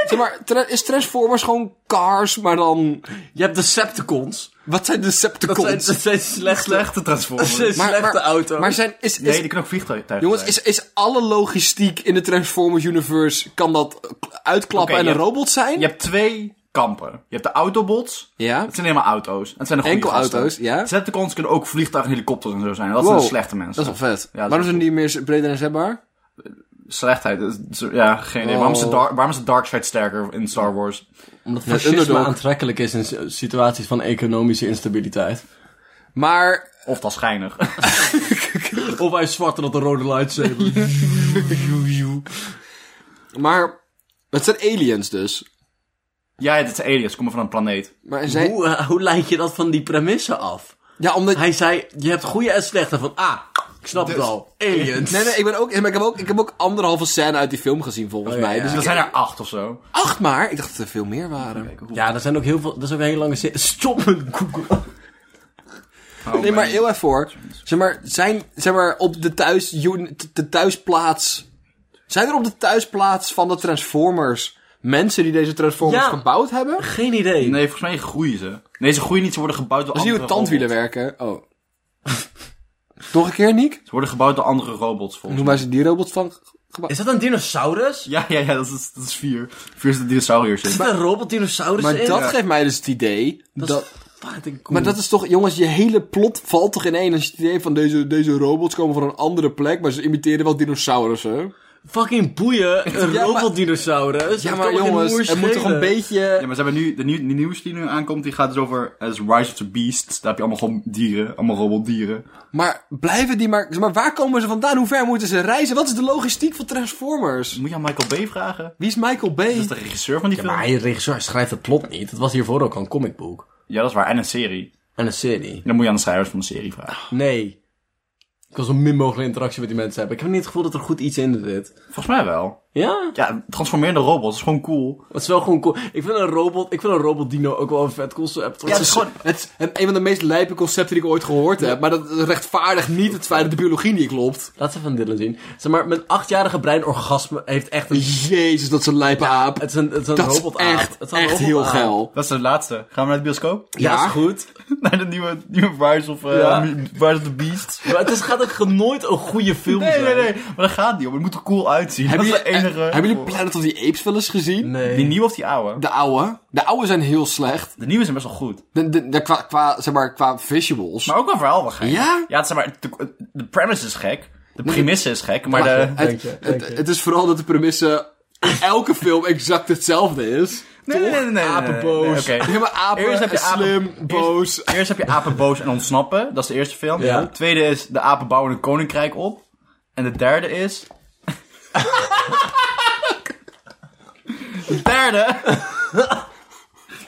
Speaker 2: Zeg maar, tra- is Transformers gewoon Cars, maar dan...
Speaker 1: Je hebt Decepticons.
Speaker 2: Wat zijn
Speaker 1: Dat zijn,
Speaker 2: Decepticons?
Speaker 1: dat zijn slechte,
Speaker 3: Slechte
Speaker 2: (laughs)
Speaker 3: Transformers.
Speaker 1: dat zijn
Speaker 2: Maar-
Speaker 1: slechte
Speaker 2: maar-
Speaker 1: auto's.
Speaker 2: Maar zijn... Is, is,
Speaker 3: nee, die kunnen ook vliegtuigen.
Speaker 2: Jongens,
Speaker 3: zijn.
Speaker 2: is, is alle logistiek in de Transformers universe... Kan dat eh, uitklappen
Speaker 3: Oké,
Speaker 2: en
Speaker 3: je
Speaker 2: een
Speaker 3: hebt-
Speaker 2: robot zijn?
Speaker 3: Je hebt twee kampen. Je hebt de Autobots.
Speaker 2: Ja.
Speaker 3: Het zijn helemaal auto's. En Het zijn de goede
Speaker 2: Enkel
Speaker 3: gasten.
Speaker 2: auto's, ja.
Speaker 3: Decepticons kunnen ook vliegtuigen en helikopters en zo zijn. Dat zijn
Speaker 2: Wow,
Speaker 3: de slechte mensen.
Speaker 2: Dat is wel vet.
Speaker 3: Ja, dat
Speaker 2: Waarom
Speaker 3: is-
Speaker 2: zijn die meer breder en zetbaar?
Speaker 3: slechtheid. Het is- Ja, geen idee.
Speaker 2: Oh.
Speaker 3: Waarom, is de dark, waarom is de dark side sterker in Star Wars?
Speaker 1: Omdat
Speaker 2: het
Speaker 1: fascisme
Speaker 2: underdog.
Speaker 1: aantrekkelijk is in s- situaties van economische instabiliteit.
Speaker 2: Maar
Speaker 3: Of dat is geinig. (laughs)
Speaker 1: Of hij is zwart en dat een rode
Speaker 2: (laughs)
Speaker 1: lightsaber.
Speaker 2: Maar het zijn aliens dus.
Speaker 3: ja, het is aliens. Komen van een planeet.
Speaker 2: Maar zij...
Speaker 1: Hoe, eh, hoe leid je dat van die premisse af?
Speaker 2: Ja, omdat...
Speaker 1: Hij zei, je hebt goede en slechte. Van, ah, ik snap het
Speaker 3: Dus-
Speaker 1: al. Aliens.
Speaker 2: Nee, nee, ik, ben ook, maar ik, heb ook, ik heb ook anderhalve scène uit die film gezien volgens
Speaker 1: Oh, ja,
Speaker 2: mij.
Speaker 1: ja.
Speaker 2: Dus
Speaker 3: Er
Speaker 2: ik-
Speaker 3: zijn er acht of zo. Oh,
Speaker 2: acht maar. Ik dacht dat er veel meer waren.
Speaker 1: Ja, er zijn ook heel veel... Dat is ook een hele lange zin. Stop met Google.
Speaker 2: Nee, maar heel even hoor. Zeg maar, zijn, zeg maar op de, thuis, de thuisplaats... Zijn er op de thuisplaats van de Transformers mensen die deze Transformers
Speaker 1: Ja.
Speaker 2: gebouwd hebben?
Speaker 1: Geen idee.
Speaker 3: Nee, volgens mij groeien ze. Nee, ze groeien niet. Ze worden gebouwd door
Speaker 2: Dat is
Speaker 3: andere
Speaker 2: hoe tandwielen
Speaker 3: robots.
Speaker 2: werken. Oh. Nog een keer, Niek?
Speaker 3: Ze worden gebouwd door andere robots, volgens
Speaker 2: Noem maar ze die robot van... gebouwd.
Speaker 1: Is dat een dinosaurus?
Speaker 3: mij. Ja, ja, ja. Dat is, dat is vier. Vier is de dinosauriërs
Speaker 2: (laughs)
Speaker 3: in.
Speaker 1: Zit er een robotdinosaurus
Speaker 2: Maar
Speaker 1: in?
Speaker 2: dat geeft mij dus het idee...
Speaker 1: Dat is
Speaker 2: dat,
Speaker 1: fucking cool.
Speaker 2: Maar dat is toch, jongens, je hele plot valt toch in één als je het idee hebt van deze, deze robots komen van een andere plek, maar ze imiteren wel dinosaurussen.
Speaker 1: fucking boeien, een
Speaker 2: Ja, maar-
Speaker 1: robotdinosaurus.
Speaker 2: Ja,
Speaker 1: Het
Speaker 2: maar
Speaker 1: kan me geen moer
Speaker 2: jongens, het moet toch een
Speaker 1: schelen.
Speaker 2: beetje...
Speaker 3: Ja, maar ze hebben nu, de, nieuw, die nieuws die nu aankomt, die gaat dus over eh, is Rise of the Beasts. Daar heb je allemaal gewoon dieren, allemaal robotdieren.
Speaker 2: Maar blijven die maar... zeg Maar waar komen ze vandaan? Hoe ver moeten ze reizen? Wat is de logistiek van Transformers?
Speaker 3: Moet je aan Michael Bay vragen?
Speaker 2: Wie is Michael
Speaker 3: Dat
Speaker 2: Bay?
Speaker 3: is de regisseur van die
Speaker 1: Ja,
Speaker 3: film.
Speaker 1: maar hij, de regisseur, schrijft het plot niet. Het was hiervoor ook al een comicboek.
Speaker 3: Ja, dat is waar. En een serie.
Speaker 1: En een serie.
Speaker 3: Dan moet je aan de schrijvers van de serie vragen.
Speaker 1: Nee. Ik wil zo min mogelijk interactie met die mensen hebben. Ik heb niet het gevoel dat er goed iets in zit.
Speaker 3: Volgens mij wel.
Speaker 1: Ja?
Speaker 3: Ja, transformerende robots is gewoon cool.
Speaker 1: Het is wel gewoon cool. Ik vind een robot, ik vind een robot dino ook wel een vet concept.
Speaker 2: Ja, het is gewoon het is een van de meest lijpe concepten die ik ooit gehoord heb. Maar dat rechtvaardigt niet het feit dat de biologie niet klopt.
Speaker 1: Laat ze van Dylan zien. Zeg maar, mijn achtjarige brein orgasme heeft echt een...
Speaker 2: Jezus, dat is een lijpe aap.
Speaker 1: Het is een, het is een
Speaker 2: Dat is
Speaker 1: robotaap.
Speaker 2: echt,
Speaker 1: Het is een
Speaker 2: echt heel
Speaker 1: robotaap.
Speaker 2: geil.
Speaker 3: Dat is de laatste. Gaan we naar de bioscoop?
Speaker 1: Ja,
Speaker 2: Ja.
Speaker 1: is goed.
Speaker 3: (laughs) naar de nieuwe, nieuwe Rise of, eh,
Speaker 1: Ja.
Speaker 3: Rise of the Beasts?
Speaker 1: Maar het is, gaat ook ge- nooit een goede film
Speaker 3: Nee,
Speaker 1: zijn.
Speaker 3: nee, nee. Maar dat gaat niet om. Het moet er cool uitzien.
Speaker 2: Hebben
Speaker 3: dat
Speaker 2: jullie,
Speaker 3: is de enige...
Speaker 2: eh, hebben jullie Planet of the Apes wel eens gezien?
Speaker 1: Nee.
Speaker 3: Die nieuwe of die oude?
Speaker 2: De oude. De oude zijn heel slecht.
Speaker 3: De nieuwe zijn best wel goed.
Speaker 2: De, de, de- qua, qua, zeg maar, qua visuals.
Speaker 3: Maar ook wel verhaal wel gek.
Speaker 2: Ja?
Speaker 3: Ja, het is maar, de, de premise is gek. De premisse is gek, maar
Speaker 2: Maar
Speaker 3: de...
Speaker 2: het,
Speaker 1: Dank je,
Speaker 2: het-
Speaker 1: dank je.
Speaker 2: het is vooral dat de premisse in elke film exact hetzelfde is.
Speaker 3: Nee, nee, nee, nee, nee, nee, nee,
Speaker 1: Apenboos.
Speaker 3: nee, oké.
Speaker 2: Helemaal apen,
Speaker 3: Eerst heb je
Speaker 2: en slim,
Speaker 3: apen-
Speaker 2: boos.
Speaker 3: Eerst heb je apen boos en ontsnappen. Dat is de eerste film.
Speaker 1: Ja.
Speaker 3: Tweede is de apen bouwen een koninkrijk op. En de derde is... de derde...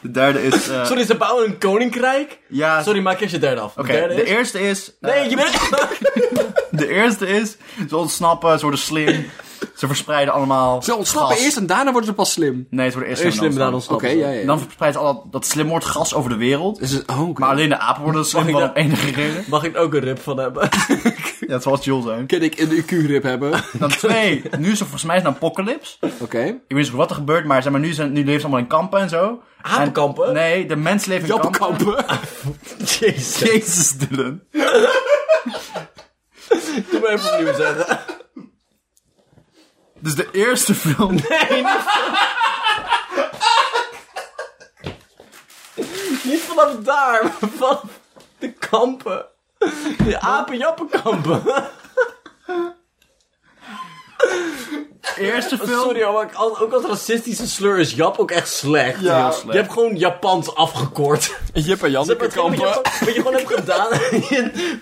Speaker 3: de derde is... eh,
Speaker 1: Sorry, ze bouwen een koninkrijk?
Speaker 3: Ja,
Speaker 1: Sorry, maak eerst je derde af.
Speaker 3: Oké,
Speaker 1: De derde
Speaker 3: de
Speaker 1: is-
Speaker 3: eerste is... eh,
Speaker 1: Nee, je bent...
Speaker 3: De eerste is... Ze ontsnappen, ze worden slim. Ze verspreiden allemaal...
Speaker 2: Ze ontsnappen
Speaker 3: gas.
Speaker 2: eerst en daarna worden ze pas slim.
Speaker 3: Nee, ze worden eerst,
Speaker 1: Eerst slim,
Speaker 3: en
Speaker 1: dan
Speaker 3: ontsnappen.
Speaker 2: Oké,
Speaker 1: ontsnappen.
Speaker 2: ja, ja.
Speaker 3: En dan verspreidt al dat, dat slim wordt gas over de wereld.
Speaker 2: Is het- oh, oké.
Speaker 3: Maar alleen de apen worden slim
Speaker 1: ik
Speaker 3: van
Speaker 1: dat-
Speaker 3: op enige reden.
Speaker 1: Mag ik er ook een rip van hebben?
Speaker 3: (laughs) Ja, het zal Jules zijn.
Speaker 2: Kan ik een IQ-grip hebben? Oké.
Speaker 3: Dan twee, nu is er volgens mij een apocalypse. Ik weet niet wat er gebeurt, maar, zeg maar nu, zijn, nu leven ze allemaal in kampen en zo.
Speaker 1: Apenkampen?
Speaker 3: En- nee, de mensen leven in kampen.
Speaker 2: Jappenkampen.
Speaker 1: (laughs) Jezus.
Speaker 3: Jezus, Dylan.
Speaker 1: Doe maar even opnieuw zetten.
Speaker 3: Dus de eerste film...
Speaker 1: Niet vanaf daar, maar vanaf de kampen. De apenjappenkampen.
Speaker 3: De eerste film...
Speaker 1: Sorry, hoor, maar ik- als- ook als racistische slur is Jap ook echt slecht.
Speaker 2: Ja.
Speaker 3: Heel slecht.
Speaker 1: Je hebt gewoon Japans afgekort.
Speaker 2: Jip en Janneke
Speaker 1: Wat je, wat je gewoon- wat je gewoon hebt gedaan.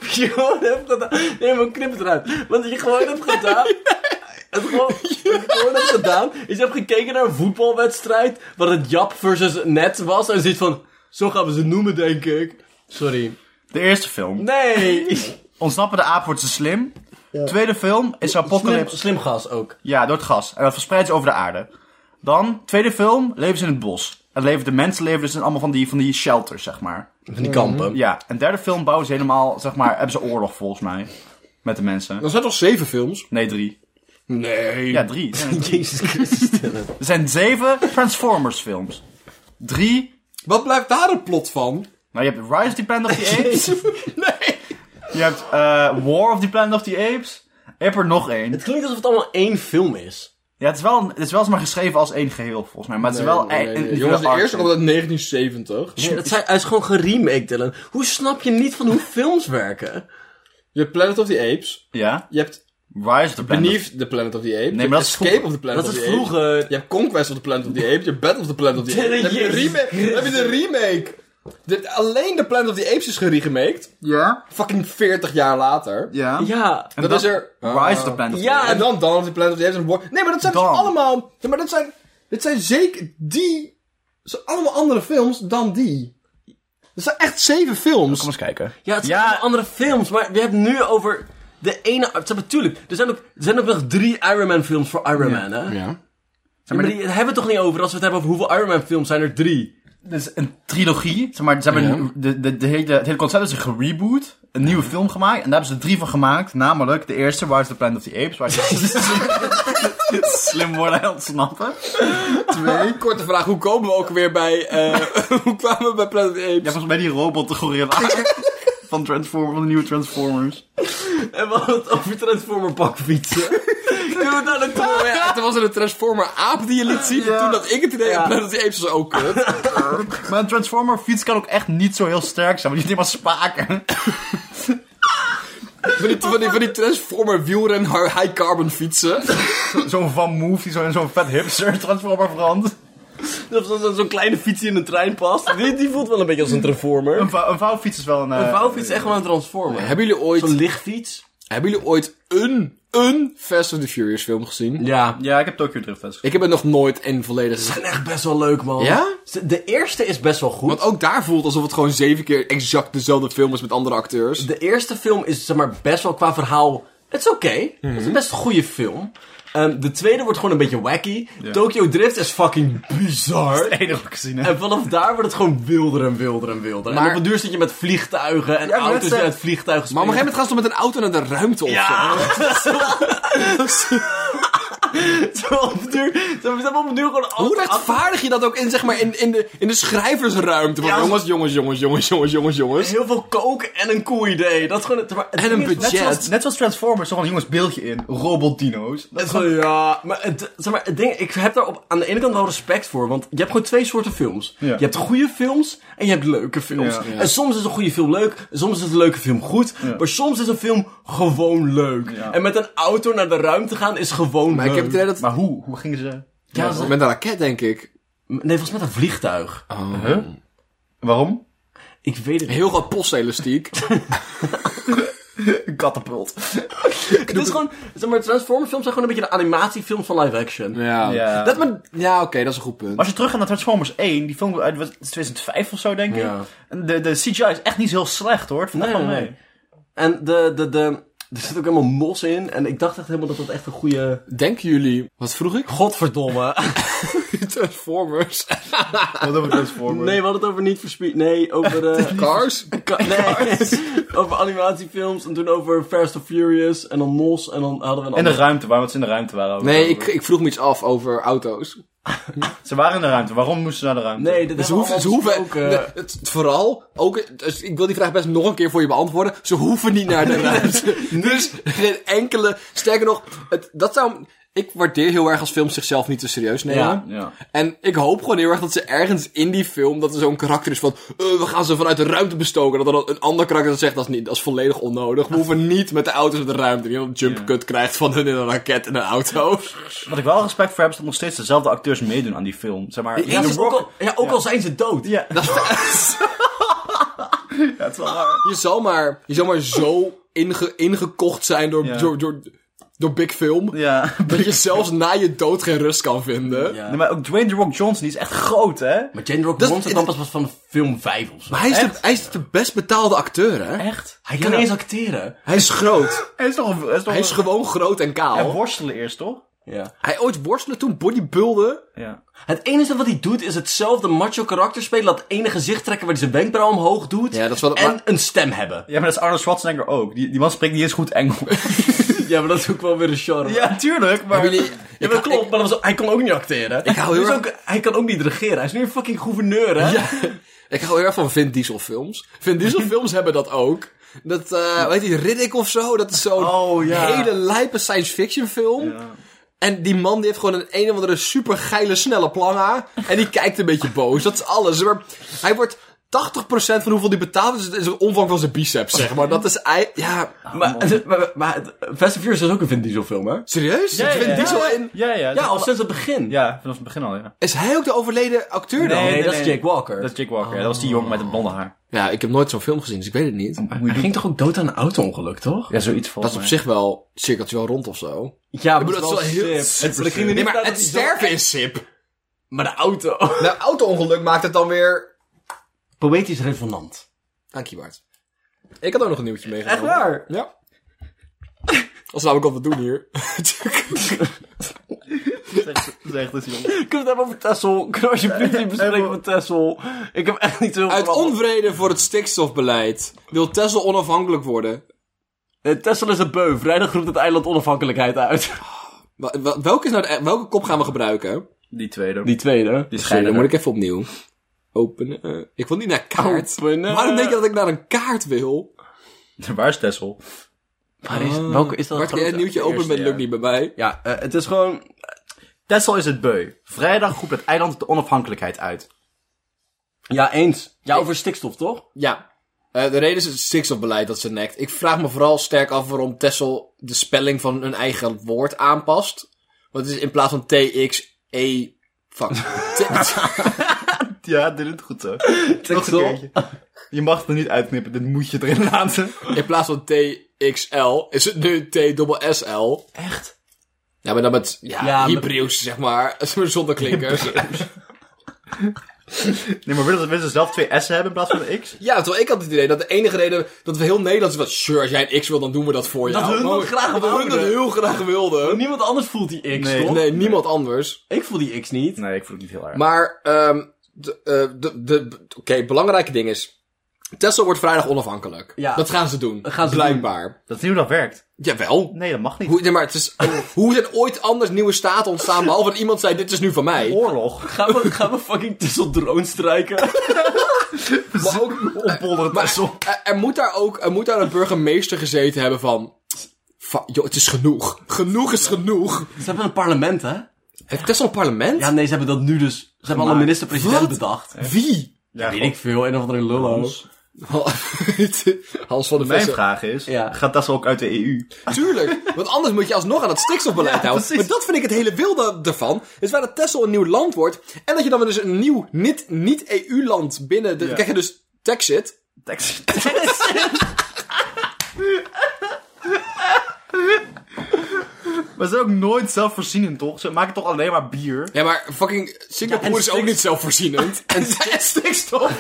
Speaker 1: Wat je gewoon hebt gedaan. Nee, maar knip het eruit. Want je gewoon hebt gedaan. Het gewoon, wat je gewoon hebt gedaan. Is je hebt gekeken naar een voetbalwedstrijd. Waar het Jap versus Net was. En je ziet van. Zo gaan we ze noemen, denk ik. Sorry.
Speaker 3: De eerste film.
Speaker 1: Nee.
Speaker 3: Ontsnappen de apen wordt ze slim. Tweede film is
Speaker 1: Slim,
Speaker 3: apocalypse.
Speaker 1: slim gas ook.
Speaker 3: Ja, door het gas. En dat verspreidt ze over de aarde. Dan, tweede film, leven ze in het bos. En leven, de mensen leven dus in allemaal van die, van die shelters, zeg maar.
Speaker 1: Van die kampen.
Speaker 3: Ja, en derde film bouwen ze helemaal, zeg maar, hebben ze oorlog volgens mij. Met de mensen.
Speaker 2: Dan zijn toch zeven films?
Speaker 3: Nee, drie.
Speaker 2: Nee.
Speaker 3: Ja, drie. Er zijn-
Speaker 1: Mhm. Jezus Christus.
Speaker 3: Er zijn zeven Transformers films. Drie.
Speaker 2: Wat blijft daar het plot van?
Speaker 3: Nou, je hebt Rise of the Planet of the Apes. Je hebt eh, War of the Planet of the Apes. Je hebt er nog één.
Speaker 1: Het klinkt alsof het allemaal één film is.
Speaker 3: Ja, het is wel, een- het is wel eens maar geschreven als één geheel, volgens mij. Maar het is wel...
Speaker 2: Nee,
Speaker 3: een-
Speaker 2: nee,
Speaker 3: een-
Speaker 2: nee.
Speaker 3: een-
Speaker 2: Jongens, de
Speaker 3: een-
Speaker 2: eerste komt uit 1970.
Speaker 1: Nee, dat zijn, hij is gewoon geremake, Dylan. Hoe snap je niet van hoe films werken?
Speaker 2: Je hebt Planet of the Apes.
Speaker 3: Ja.
Speaker 2: Je hebt
Speaker 3: Rise of the Planet of...
Speaker 2: Beneath the Planet of the Apes.
Speaker 3: maar
Speaker 2: je
Speaker 3: dat
Speaker 2: hebt
Speaker 3: is
Speaker 2: Escape
Speaker 3: vroeger.
Speaker 2: of the Planet
Speaker 1: Dat
Speaker 2: of
Speaker 1: is
Speaker 2: the Apes.
Speaker 1: vroeger.
Speaker 2: Je hebt Conquest of the Planet of the Apes. Je hebt Battle of the Planet of the Apes. Dan heb je een
Speaker 1: Jezus
Speaker 2: remake. Dan heb je de remake. De- alleen de Planet of the Apes is geremaked.
Speaker 3: Ja.
Speaker 2: Fucking 40 jaar later.
Speaker 3: Ja.
Speaker 1: Ja.
Speaker 3: En
Speaker 2: Dan
Speaker 3: dat-
Speaker 2: is er...
Speaker 3: Rise of the Planet of the
Speaker 1: Ja,
Speaker 2: En dan Dawn of the Planet of the Apes en War... Nee, maar dat zijn dus
Speaker 3: Dawn.
Speaker 2: allemaal... Ja, maar dat zijn... Dit zijn zeker die... Dat zijn allemaal andere films dan die. Dat zijn echt zeven films.
Speaker 3: eens kijken.
Speaker 1: Ja, het zijn
Speaker 3: Ja.
Speaker 1: allemaal andere films, maar we hebben het nu over de ene... Het zijn natuurlijk, er zijn, ook, er zijn ook nog drie Iron Man films voor Iron Man, hè? Ja,
Speaker 2: Ja.
Speaker 1: maar die daar hebben we het toch niet over als we het hebben over hoeveel Iron Man films zijn er drie? (laughs)
Speaker 3: Dus een trilogie. Zeg maar, ze hebben een- de, de, de hele, het hele concept is een gereboot. Een nieuwe film gemaakt. En daar hebben ze drie van gemaakt. Namelijk de eerste, Rise of the Planet of the Apes. (laughs) Waar ze (laughs) slim worden en ontsnappen.
Speaker 2: Twee. (laughs) Korte vraag, hoe komen we ook weer bij... eh, (laughs) hoe kwamen we bij Planet of the Apes?
Speaker 3: Ja, volgens mij die robot, de gorilla. (laughs) van, Transform, van de nieuwe Transformers.
Speaker 1: En we hadden het over Transformer bakfietsen. Kunnen we daar naartoe?
Speaker 2: Ja, toen was er een Transformer aap die je liet zien. En
Speaker 3: Ja.
Speaker 2: toen dat ik het idee had,
Speaker 1: Ja.
Speaker 2: Planet of the Apes was ook kut.
Speaker 3: Maar een Transformer fiets kan ook echt niet zo heel sterk zijn. Want je hebt helemaal spaken.
Speaker 2: Van die, van die, van die Transformer wielren high carbon fietsen.
Speaker 3: (coughs) Zo'n Van Move die zo in zo'n vet hipster transformer verandert.
Speaker 1: (laughs) Dat dat- dat zo'n kleine fiets die in een trein past. Die, die voelt wel een beetje als een transformer.
Speaker 3: Een, vou- een vouwfiets is wel een... eh,
Speaker 1: Een vouwfiets is echt wel een transformer.
Speaker 2: hebben, jullie
Speaker 1: Zo'n
Speaker 2: ooit,
Speaker 1: lichtfiets.
Speaker 2: hebben jullie ooit een, een Fast and the Furious film gezien?
Speaker 1: Ja.
Speaker 3: Ja, ik heb Tokyo Drift Fest.
Speaker 2: Ik heb er nog nooit een volledig
Speaker 1: Ze
Speaker 2: gezien.
Speaker 1: zijn echt best wel leuk, man.
Speaker 2: Ja?
Speaker 1: Ze- De eerste is best wel goed.
Speaker 2: Want ook daar voelt alsof het gewoon zeven keer exact dezelfde film is met andere acteurs.
Speaker 1: De eerste film is zeg maar best wel qua verhaal. Het is oké. Het is
Speaker 3: Mhm.
Speaker 1: een best goede film. Ehm, de tweede wordt gewoon een beetje wacky. Tokyo Drift is fucking bizar.
Speaker 3: Het enige wat ik gezien heb.
Speaker 1: En vanaf daar wordt het gewoon wilder en wilder en wilder.
Speaker 2: Maar-
Speaker 1: En op het duur zit je met vliegtuigen en
Speaker 2: Ja, maar
Speaker 1: auto's
Speaker 2: dat
Speaker 1: die
Speaker 2: zijn-
Speaker 1: uit vliegtuigen
Speaker 2: Maar op een
Speaker 1: springen.
Speaker 2: gegeven moment gaan ze toch met een auto naar de ruimte of zo?
Speaker 1: Ja! (laughs) Zo op het duur... Ze hebben op het duur gewoon...
Speaker 2: Hoe
Speaker 1: altijd-
Speaker 2: rechtvaardig je dat ook in, zeg maar, in, in, de, in de schrijversruimte? Van,
Speaker 1: Ja,
Speaker 2: jongens, jongens, jongens, jongens, jongens, jongens, jongens.
Speaker 1: Heel veel kook en een cool idee. Dat is gewoon... het- maar het
Speaker 2: En een
Speaker 1: ding is-
Speaker 2: budget.
Speaker 3: Net zoals, net zoals Transformers, zo van jongens, beeldje in. Robotdino's.
Speaker 1: Het is gewoon, ja, maar, het, zeg maar het ding, ik heb daar op, aan de ene kant wel respect voor. Want je hebt gewoon twee soorten films.
Speaker 3: Ja.
Speaker 1: Je hebt goede films en je hebt leuke films.
Speaker 3: Ja, ja.
Speaker 1: En soms is een goede film leuk, en soms is een leuke film goed. Maar soms is een film gewoon leuk.
Speaker 3: Ja.
Speaker 1: En met een auto naar de ruimte gaan is gewoon
Speaker 2: Maar ik
Speaker 1: leuk.
Speaker 2: heb het idee dat...
Speaker 3: Maar hoe? Hoe gingen ze...
Speaker 1: Ja, ze-
Speaker 2: Met een raket, denk ik.
Speaker 1: Nee, volgens mij met een vliegtuig.
Speaker 3: Huh? Waarom?
Speaker 1: Ik weet het niet.
Speaker 2: Heel groot postelastiek.
Speaker 3: Een katapult.
Speaker 1: Het is gewoon, zeg maar, Transformers films zijn gewoon een beetje de animatiefilms van live action.
Speaker 2: Ja.
Speaker 3: Ja.
Speaker 2: Dat men- ja, oké, dat is een goed punt.
Speaker 3: Maar als je teruggaat naar Transformers 1, die film uit wat- 2005 of zo, denk ik.
Speaker 1: Ja.
Speaker 3: En De, de CGI is echt niet zo heel slecht, hoor. Het valt
Speaker 1: Nee,
Speaker 3: wel
Speaker 1: nee,
Speaker 3: mee.
Speaker 1: (laughs) En de, de, de, er zit ook helemaal mos in. En ik dacht echt helemaal dat dat echt een goede...
Speaker 2: Denken jullie... Wat vroeg
Speaker 1: (laughs)
Speaker 2: ik?
Speaker 1: Godverdomme.
Speaker 2: Transformers.
Speaker 3: Wat over Transformers?
Speaker 1: Nee, we hadden het over niet verspied. Nee,
Speaker 2: (laughs)
Speaker 1: over. eh,
Speaker 2: (laughs) Cars.
Speaker 1: ka- nee, (laughs) over animatiefilms en toen over Fast and Furious en dan Mos en dan hadden we een
Speaker 3: En de
Speaker 1: ander-
Speaker 3: ruimte, waarom ze in de ruimte waren. ook.
Speaker 2: Nee, ik, ik vroeg me iets af over auto's.
Speaker 3: Ze waren in de ruimte, waarom moesten ze naar de ruimte?
Speaker 1: Nee, dat
Speaker 2: Ze
Speaker 1: is
Speaker 2: Dus hoeven, ze hoeven
Speaker 1: ook.
Speaker 2: de- het, vooral, ook, dus ik wil die vraag best nog een keer voor je beantwoorden. Ze hoeven niet naar de ruimte. dus geen enkele, sterker nog, het, dat zou, ik waardeer heel erg als films zichzelf niet te serieus nemen.
Speaker 1: Ja.
Speaker 3: Ja.
Speaker 2: En ik hoop gewoon heel erg dat ze ergens in die film, dat er zo'n karakter is van, eh, we gaan ze vanuit de ruimte bestoken. Dat er dan een ander karakter dat zegt, dat is, niet, dat is volledig onnodig. We hoeven niet met de auto's naar de ruimte. Die een jump cut krijgt van hun in een raket en een auto. (laughs)
Speaker 3: Wat ik wel respect voor heb, is dat nog steeds dezelfde acteurs meedoen aan die film. Zeg maar,
Speaker 1: ja,
Speaker 3: The
Speaker 1: ze is ook
Speaker 3: Rock-
Speaker 1: al, ja, ook al zijn ze dood.
Speaker 3: Ja, dat ja, het is wel raar.
Speaker 2: Je zal maar, je zal maar zo inge- ingekocht zijn door,
Speaker 3: Ja.
Speaker 2: door, door, door Big Film.
Speaker 3: Ja.
Speaker 2: Dat je zelfs na je dood geen rust kan vinden.
Speaker 1: Ja.
Speaker 3: Nee, maar ook Dwayne The Rock Johnson, die is echt groot, hè?
Speaker 1: Maar Jane Rock
Speaker 2: Dat-
Speaker 1: won ze dan pas pas van film 5 of zo.
Speaker 2: Maar hij is, de,
Speaker 3: Echt?
Speaker 2: hij is de best betaalde acteur, hè?
Speaker 3: Echt?
Speaker 1: Hij kan
Speaker 3: Ja.
Speaker 1: niet eens acteren.
Speaker 2: Hij is groot.
Speaker 3: Hij is toch een... Hij is, toch
Speaker 2: hij is
Speaker 3: een-
Speaker 2: gewoon groot en
Speaker 3: Hij
Speaker 2: kaal.
Speaker 3: worstelen eerst, toch?
Speaker 1: Ja.
Speaker 2: Hij ooit worstelde toen bodybuilden.
Speaker 3: Ja.
Speaker 1: Het enige wat hij doet is hetzelfde macho karakter spelen. Dat ene gezicht trekken waar hij zijn wenkbrauw omhoog doet.
Speaker 2: Ja, dat is wel-
Speaker 1: en
Speaker 2: maar-
Speaker 1: een stem hebben. (laughs)
Speaker 3: Ja, maar dat is Arnold Schwarzenegger ook. Die, die man spreekt niet eens goed Engels.
Speaker 1: Ja, maar dat is ook wel weer een charme.
Speaker 3: (laughs) ja, tuurlijk, maar...
Speaker 2: Hebben jullie-
Speaker 1: Ja, maar dat klopt, maar dat was- hij kon ook niet acteren.
Speaker 2: Ik hou heel
Speaker 1: Dus
Speaker 2: erg-
Speaker 1: ook- Hij kan ook niet regeren. Hij is nu een fucking gouverneur, hè?
Speaker 2: Ja. Ik hou heel erg van Vin Diesel films. Vin
Speaker 3: (laughs)
Speaker 2: Diesel films hebben dat ook. Dat, eh weet je, Riddick of zo. Dat is zo'n
Speaker 3: Oh, ja.
Speaker 2: hele lijpe science fiction film. En die man die heeft gewoon een een of andere super geile snelle planga. En die kijkt een beetje boos. Dat is alles. Maar hij wordt 80% van hoeveel die betaalt. dus is- is de omvang van zijn biceps, zeg maar. Dat is... ei- Ja,
Speaker 1: maar, (laughs) maar, maar het- Fast and Furious is ook een Vin Diesel film, hè?
Speaker 2: serieus?
Speaker 3: Ja, ja,
Speaker 2: Vin
Speaker 3: ja.
Speaker 2: Diesel in...
Speaker 3: Ja, ja.
Speaker 1: Ja, al sinds het begin.
Speaker 3: Ja, vanaf het begin al, ja.
Speaker 2: Is hij ook de overleden acteur dan?
Speaker 1: Nee,
Speaker 3: Nee,
Speaker 1: dat
Speaker 3: nee.
Speaker 1: is Jake Walker.
Speaker 3: Dat is Jake Walker. ja. Dat was die jongen met het blonde haar.
Speaker 2: Ja, ik heb nooit zo'n film gezien, dus ik weet het niet.
Speaker 1: Hij ging toch ook dood aan een auto-ongeluk, toch?
Speaker 3: Ja, zoiets
Speaker 2: Dat
Speaker 3: volgens
Speaker 2: is op
Speaker 3: mij.
Speaker 2: zich wel... cirkeltje wel rond of zo.
Speaker 1: Ja, maar
Speaker 2: bedoel,
Speaker 1: dat is wel heel...
Speaker 2: super
Speaker 1: maar, dat ging er niet
Speaker 2: Nee, maar
Speaker 1: uit
Speaker 2: het
Speaker 1: dat hij zo-
Speaker 2: sterven is sip.
Speaker 1: Maar de auto...
Speaker 2: Nou, auto-ongeluk maakt het dan
Speaker 1: (laughs)
Speaker 2: weer...
Speaker 1: Poëtisch resonant.
Speaker 2: Dank je, Bart. Ik had ook nog een nieuwtje meegenomen.
Speaker 1: Echt waar?
Speaker 2: Ja. Dat is namelijk wat we doen (laughs) hier.
Speaker 3: Dat is echt een
Speaker 1: Kunnen
Speaker 3: jongen.
Speaker 1: we het hebben over Tessel? Kunnen we alsjeblieft niet bespreken over Tessel? Ik heb echt niet zo...
Speaker 2: Uit onvrede voor het stikstofbeleid wil Tesla onafhankelijk worden.
Speaker 1: Eh, Tessel is een beu. Vrijdag roept het eiland onafhankelijkheid uit. (laughs)
Speaker 2: Wa- wa- Welke, is nou de- welke kop gaan we gebruiken?
Speaker 3: Die tweede.
Speaker 1: Die tweede.
Speaker 3: Die
Speaker 2: Sorry,
Speaker 3: scheiden.
Speaker 2: dan moet ik even opnieuw. Openen. eh, ik wil niet naar kaart.
Speaker 1: Openen.
Speaker 2: Waarom denk je dat ik naar een kaart wil?
Speaker 3: (laughs) Waar is Tessel?
Speaker 1: Waar is, welke is dat?
Speaker 2: Bart, kan jij
Speaker 1: grote?
Speaker 2: het nieuwtje openen
Speaker 3: eerste,
Speaker 2: met lukt
Speaker 3: ja.
Speaker 2: niet bij mij?
Speaker 1: Ja, eh, het is gewoon...
Speaker 3: Tessel is het beu. Vrijdag roept het eiland de onafhankelijkheid uit.
Speaker 1: Ja, eens. Ja, over stikstof, toch?
Speaker 2: Ja. Eh, Eh, de reden is het stikstofbeleid dat ze nekt. Ik vraag me vooral sterk af waarom Tessel de spelling van hun eigen woord aanpast. Want het is in plaats van TXE. Fuck. T- (laughs)
Speaker 3: Ja, dit is (laughs) goed zo. Nog een keertje. Je mag het er niet uitknippen, dit moet je erin laten.
Speaker 2: in plaats van TXL is het nu TSSL.
Speaker 1: Echt?
Speaker 2: Ja, maar dan met ja,
Speaker 1: Ja, maar-
Speaker 2: Hebreeuws, zeg maar. (laughs) Zonder klinkers.
Speaker 3: Nee, maar willen ze- willen ze zelf twee S'en hebben in plaats van een X?
Speaker 2: Ja, terwijl ik had het idee dat de enige reden dat we heel Nederlands was... Sure, als jij een X wil, dan doen we dat voor jou.
Speaker 1: Dat hun dat
Speaker 2: Maar-
Speaker 1: graag
Speaker 2: dat hun dat
Speaker 1: wouden.
Speaker 2: heel graag wilden.
Speaker 1: Oh, Niemand anders voelt die X,
Speaker 3: Nee.
Speaker 1: toch?
Speaker 2: Nee, niemand anders.
Speaker 1: Ik voel die X niet.
Speaker 3: Nee, ik voel het niet heel erg.
Speaker 2: Maar, ehm de, eh, de, de, oké, belangrijke ding is... Tesla wordt vrijdag onafhankelijk.
Speaker 1: Ja.
Speaker 2: Dat gaan ze doen.
Speaker 1: Dat gaan ze
Speaker 2: Blijkbaar.
Speaker 3: Dat is niet hoe dat werkt.
Speaker 2: Jawel.
Speaker 3: Nee, dat mag niet.
Speaker 2: Hoe, nee, maar het is, hoe zijn ooit anders nieuwe staten ontstaan... behalve dat iemand zei, dit is nu van mij.
Speaker 1: (laughs)
Speaker 3: Oorlog.
Speaker 1: Gaan we, gaan we fucking tussen drones
Speaker 2: (laughs)
Speaker 1: strijken?
Speaker 2: Maar ook,
Speaker 3: Oppolderen
Speaker 2: Maar
Speaker 3: Tessel.
Speaker 2: er, er moet daar ook er moet daar een burgemeester gezeten hebben van... "Fa- joh, het is genoeg. Genoeg is genoeg.
Speaker 1: Ze hebben een parlement, hè?
Speaker 2: Heeft Tesla een parlement?
Speaker 1: Ja, nee, ze hebben dat nu dus... Ze hebben al een
Speaker 3: Gemaakt.
Speaker 1: minister-president
Speaker 2: Wat?
Speaker 1: bedacht.
Speaker 2: Wie? (laughs)
Speaker 3: Ja,
Speaker 1: Weet ik veel, een of andere lullo.
Speaker 2: Hans van de
Speaker 3: Mijn
Speaker 2: Vissen.
Speaker 3: vraag is,
Speaker 1: Ja.
Speaker 3: gaat Tessel ook uit de E EU?
Speaker 2: Tuurlijk, want anders moet je alsnog aan het stikstofbeleid
Speaker 3: Ja,
Speaker 2: houden.
Speaker 3: precies.
Speaker 2: Maar dat vind ik het hele wilde ervan. Is waar dat Texel een nieuw land wordt. En dat je dan weer dus een nieuw niet- niet-EU-land binnen... De,
Speaker 3: Ja.
Speaker 2: krijg je dus Texit.
Speaker 3: Texas. (laughs) maar ze zijn ook nooit zelfvoorzienend, toch? Ze maken toch alleen maar bier?
Speaker 2: Ja, maar fucking Singapore
Speaker 1: Ja, en
Speaker 2: is ook
Speaker 1: stikst-
Speaker 2: niet zelfvoorzienend. en, en stikstof.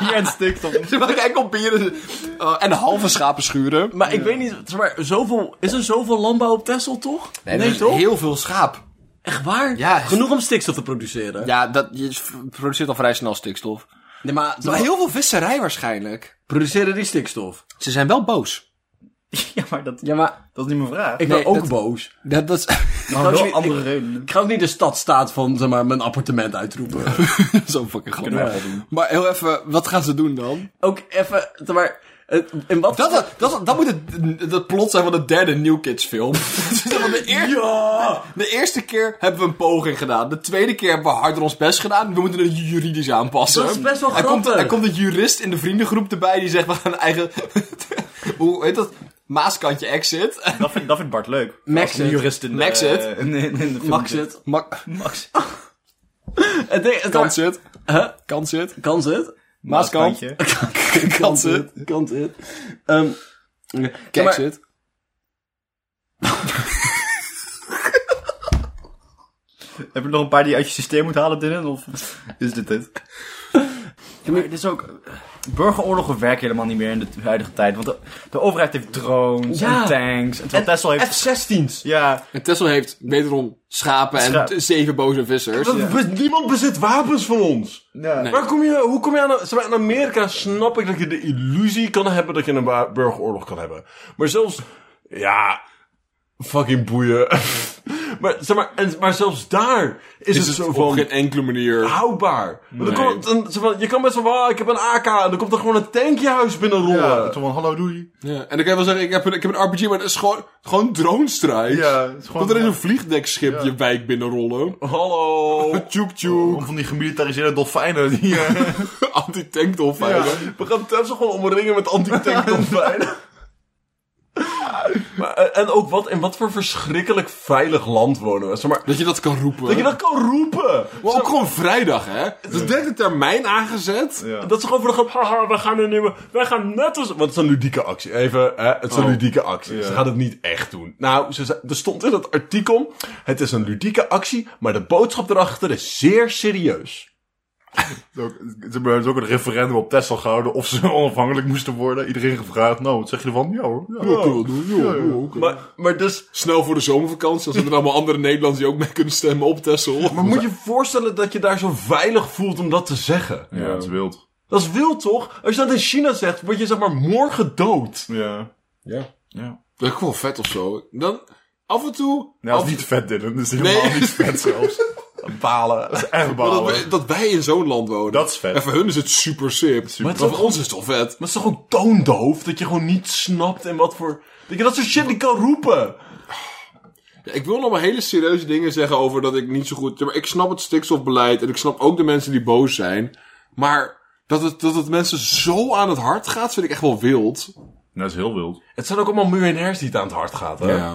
Speaker 3: Bier en
Speaker 1: (laughs)
Speaker 3: stikstof.
Speaker 2: Ze maken enkel bieren eh, en halve schapen schuren.
Speaker 1: Maar ik weet niet, zeg maar, zoveel, is er zoveel landbouw op Texel, toch? Nee, toch?
Speaker 2: Heel veel schaap.
Speaker 1: Echt waar?
Speaker 2: Ja, is-
Speaker 1: Genoeg om stikstof te produceren.
Speaker 2: Ja, dat, je produceert al vrij snel stikstof.
Speaker 1: Nee, maar,
Speaker 2: Maar heel veel visserij waarschijnlijk.
Speaker 1: produceren die stikstof?
Speaker 2: Ze zijn wel boos.
Speaker 3: Ja, maar dat,
Speaker 1: Ja, maar...
Speaker 3: dat is niet mijn vraag.
Speaker 1: Ik
Speaker 2: Nee,
Speaker 1: ben ook
Speaker 2: dat-
Speaker 1: boos.
Speaker 2: Dat, dat is
Speaker 3: had
Speaker 1: ik-
Speaker 3: wel
Speaker 1: ik-
Speaker 3: andere redenen.
Speaker 1: Ik ga ook niet de stadstaat van, zeg maar, mijn appartement uitroepen.
Speaker 2: (laughs) zo'n fucking grap.
Speaker 1: Ja.
Speaker 2: Maar heel even, wat gaan ze doen dan?
Speaker 1: ook even, zeg maar... het- In wat...
Speaker 2: Dat, dat, dat, dat moet het, het plot zijn van de derde New Kids film. (laughs) Want de, eer-
Speaker 1: Ja!
Speaker 2: de eerste keer hebben we een poging gedaan. De tweede keer hebben we harder ons best gedaan. We moeten het juridisch aanpassen.
Speaker 1: Dat is best wel
Speaker 2: er komt,
Speaker 1: grappig.
Speaker 2: er komt een jurist in de vriendengroep erbij die zegt we gaan een eigen... (laughs) Hoe heet dat? Maaskantje exit.
Speaker 3: Dat vindt, dat vindt Bart leuk.
Speaker 1: Maxit.
Speaker 3: Als een jurist in de-
Speaker 2: Maxit.
Speaker 3: in- in- in de film
Speaker 1: Max
Speaker 3: zit.
Speaker 1: het.
Speaker 2: Mak-
Speaker 3: Max.
Speaker 1: Het ding- het-
Speaker 2: Kans het.
Speaker 1: Huh?
Speaker 2: Kans het.
Speaker 1: Kan het?
Speaker 2: Maaskant.
Speaker 3: Maaskantje.
Speaker 1: Kan
Speaker 2: Kans het.
Speaker 1: Kan het. Ehm, ja, maar-
Speaker 2: Kijk het.
Speaker 3: Heb je nog een paar die je uit je systeem moet halen, Dylan? Of is dit het? Ja, maar dit is
Speaker 4: eh,
Speaker 3: ook... Burgeroorlogen werken helemaal niet meer in de huidige tijd. Want de, de overheid heeft drones
Speaker 1: Ja.
Speaker 3: en tanks. En terwijl Tesla heeft...
Speaker 1: F-16's.
Speaker 3: ja,
Speaker 2: En Tessel heeft wederom schapen en
Speaker 3: Schaap.
Speaker 2: t- zeven boze vissers.
Speaker 1: Dat- we- Niemand bezit wapens van ons.
Speaker 3: ja.
Speaker 1: Waar kom je, hoe kom je aan... zeg maar, In Amerika snap ik dat je de illusie kan hebben dat je een wa- burgeroorlog kan hebben. Maar zelfs... Ja... Fucking boeien. (laughs) maar, zeg maar, en, maar zelfs daar is,
Speaker 5: Dus
Speaker 1: het, zo van...
Speaker 2: enkele
Speaker 5: Ah.
Speaker 2: manier.
Speaker 1: Houdbaar. Want dan komt een- zeg maar, je kan best wel... "Ah, ik heb een AK. En dan komt er gewoon een tankje huis binnen rollen.
Speaker 3: Ja, toen van hallo doei.
Speaker 2: Ja. En dan kan je wel zeggen, ik heb een, ik heb een RPG, maar dat is gewoon, gewoon drone-strike.
Speaker 3: Ja, het is gewoon-
Speaker 2: Want er is een vliegdekschip je wijk binnenrollen.
Speaker 1: Hallo. (laughs)
Speaker 2: Tjoek tjoek.
Speaker 3: Om van die gemilitariseerde dolfijnen die...
Speaker 2: Anti-tank dolfijnen.
Speaker 1: We gaan Tesla gewoon omringen met anti-tankdolfijnen. maar, eh, en ook wat, in wat voor verschrikkelijk veilig land wonen we. Zeg maar,
Speaker 2: Dat je dat kan roepen.
Speaker 1: dat je dat kan roepen.
Speaker 2: Maar ook gewoon vrijdag, hè? Dat is direct een termijn aangezet.
Speaker 3: Ja.
Speaker 1: Dat ze gewoon voor de grap, haha, wij gaan een nieuwe, wij gaan net als... Want het is een ludieke actie, even, hè, het is een ludieke actie. Ze gaat het niet echt doen. Nou, ze, ze- er stond in het artikel, het is een ludieke actie, maar de boodschap erachter is zeer serieus.
Speaker 4: Ze hebben ook een referendum op Tesla gehouden of ze (laughs) onafhankelijk moesten worden. Iedereen gevraagd, nou, wat zeg je ervan? Ja hoor. Ja.
Speaker 2: Oké, wel doen, joh, joh, oké.
Speaker 1: Maar, maar dus,
Speaker 2: Snel voor de zomervakantie, dan zitten er allemaal andere Nederlanders die ook mee kunnen stemmen op Tessel.
Speaker 1: maar moet je je voorstellen dat je daar zo veilig voelt om dat te zeggen?
Speaker 4: Ja, het is wild.
Speaker 1: Dat is wild, toch? Als je dat in China zegt, word je zeg maar morgen dood.
Speaker 4: Ja.
Speaker 2: Ja.
Speaker 4: ja.
Speaker 2: Dat is gewoon vet of zo. Dan, af en toe...
Speaker 4: Nou,
Speaker 2: af-
Speaker 4: dat is niet vet, Dylan. Dat is helemaal
Speaker 2: Nee.
Speaker 4: niet vet
Speaker 3: (laughs)
Speaker 4: zelfs.
Speaker 1: Balen.
Speaker 4: Dat is echt
Speaker 2: dat,
Speaker 4: balen.
Speaker 2: wij, dat wij in zo'n land wonen.
Speaker 4: Dat is vet.
Speaker 2: En voor hun is het super sip.
Speaker 1: Maar
Speaker 2: Maar,
Speaker 1: het is
Speaker 2: voor
Speaker 1: ook-
Speaker 2: ons is het toch vet.
Speaker 1: Maar het is toch ook toondoof? Dat je gewoon niet snapt en wat voor... Dat je dat soort shit niet kan roepen.
Speaker 2: Ja, ik wil nog maar hele serieuze dingen zeggen over dat ik niet zo goed... Ja, maar ik snap het stikstofbeleid en ik snap ook de mensen die boos zijn. Maar Dat het, dat het mensen zo aan het hart gaat, vind ik echt wel wild.
Speaker 3: Dat is heel wild.
Speaker 5: Het zijn ook allemaal miljonairs die het aan het hart gaat, hè?
Speaker 2: Eh,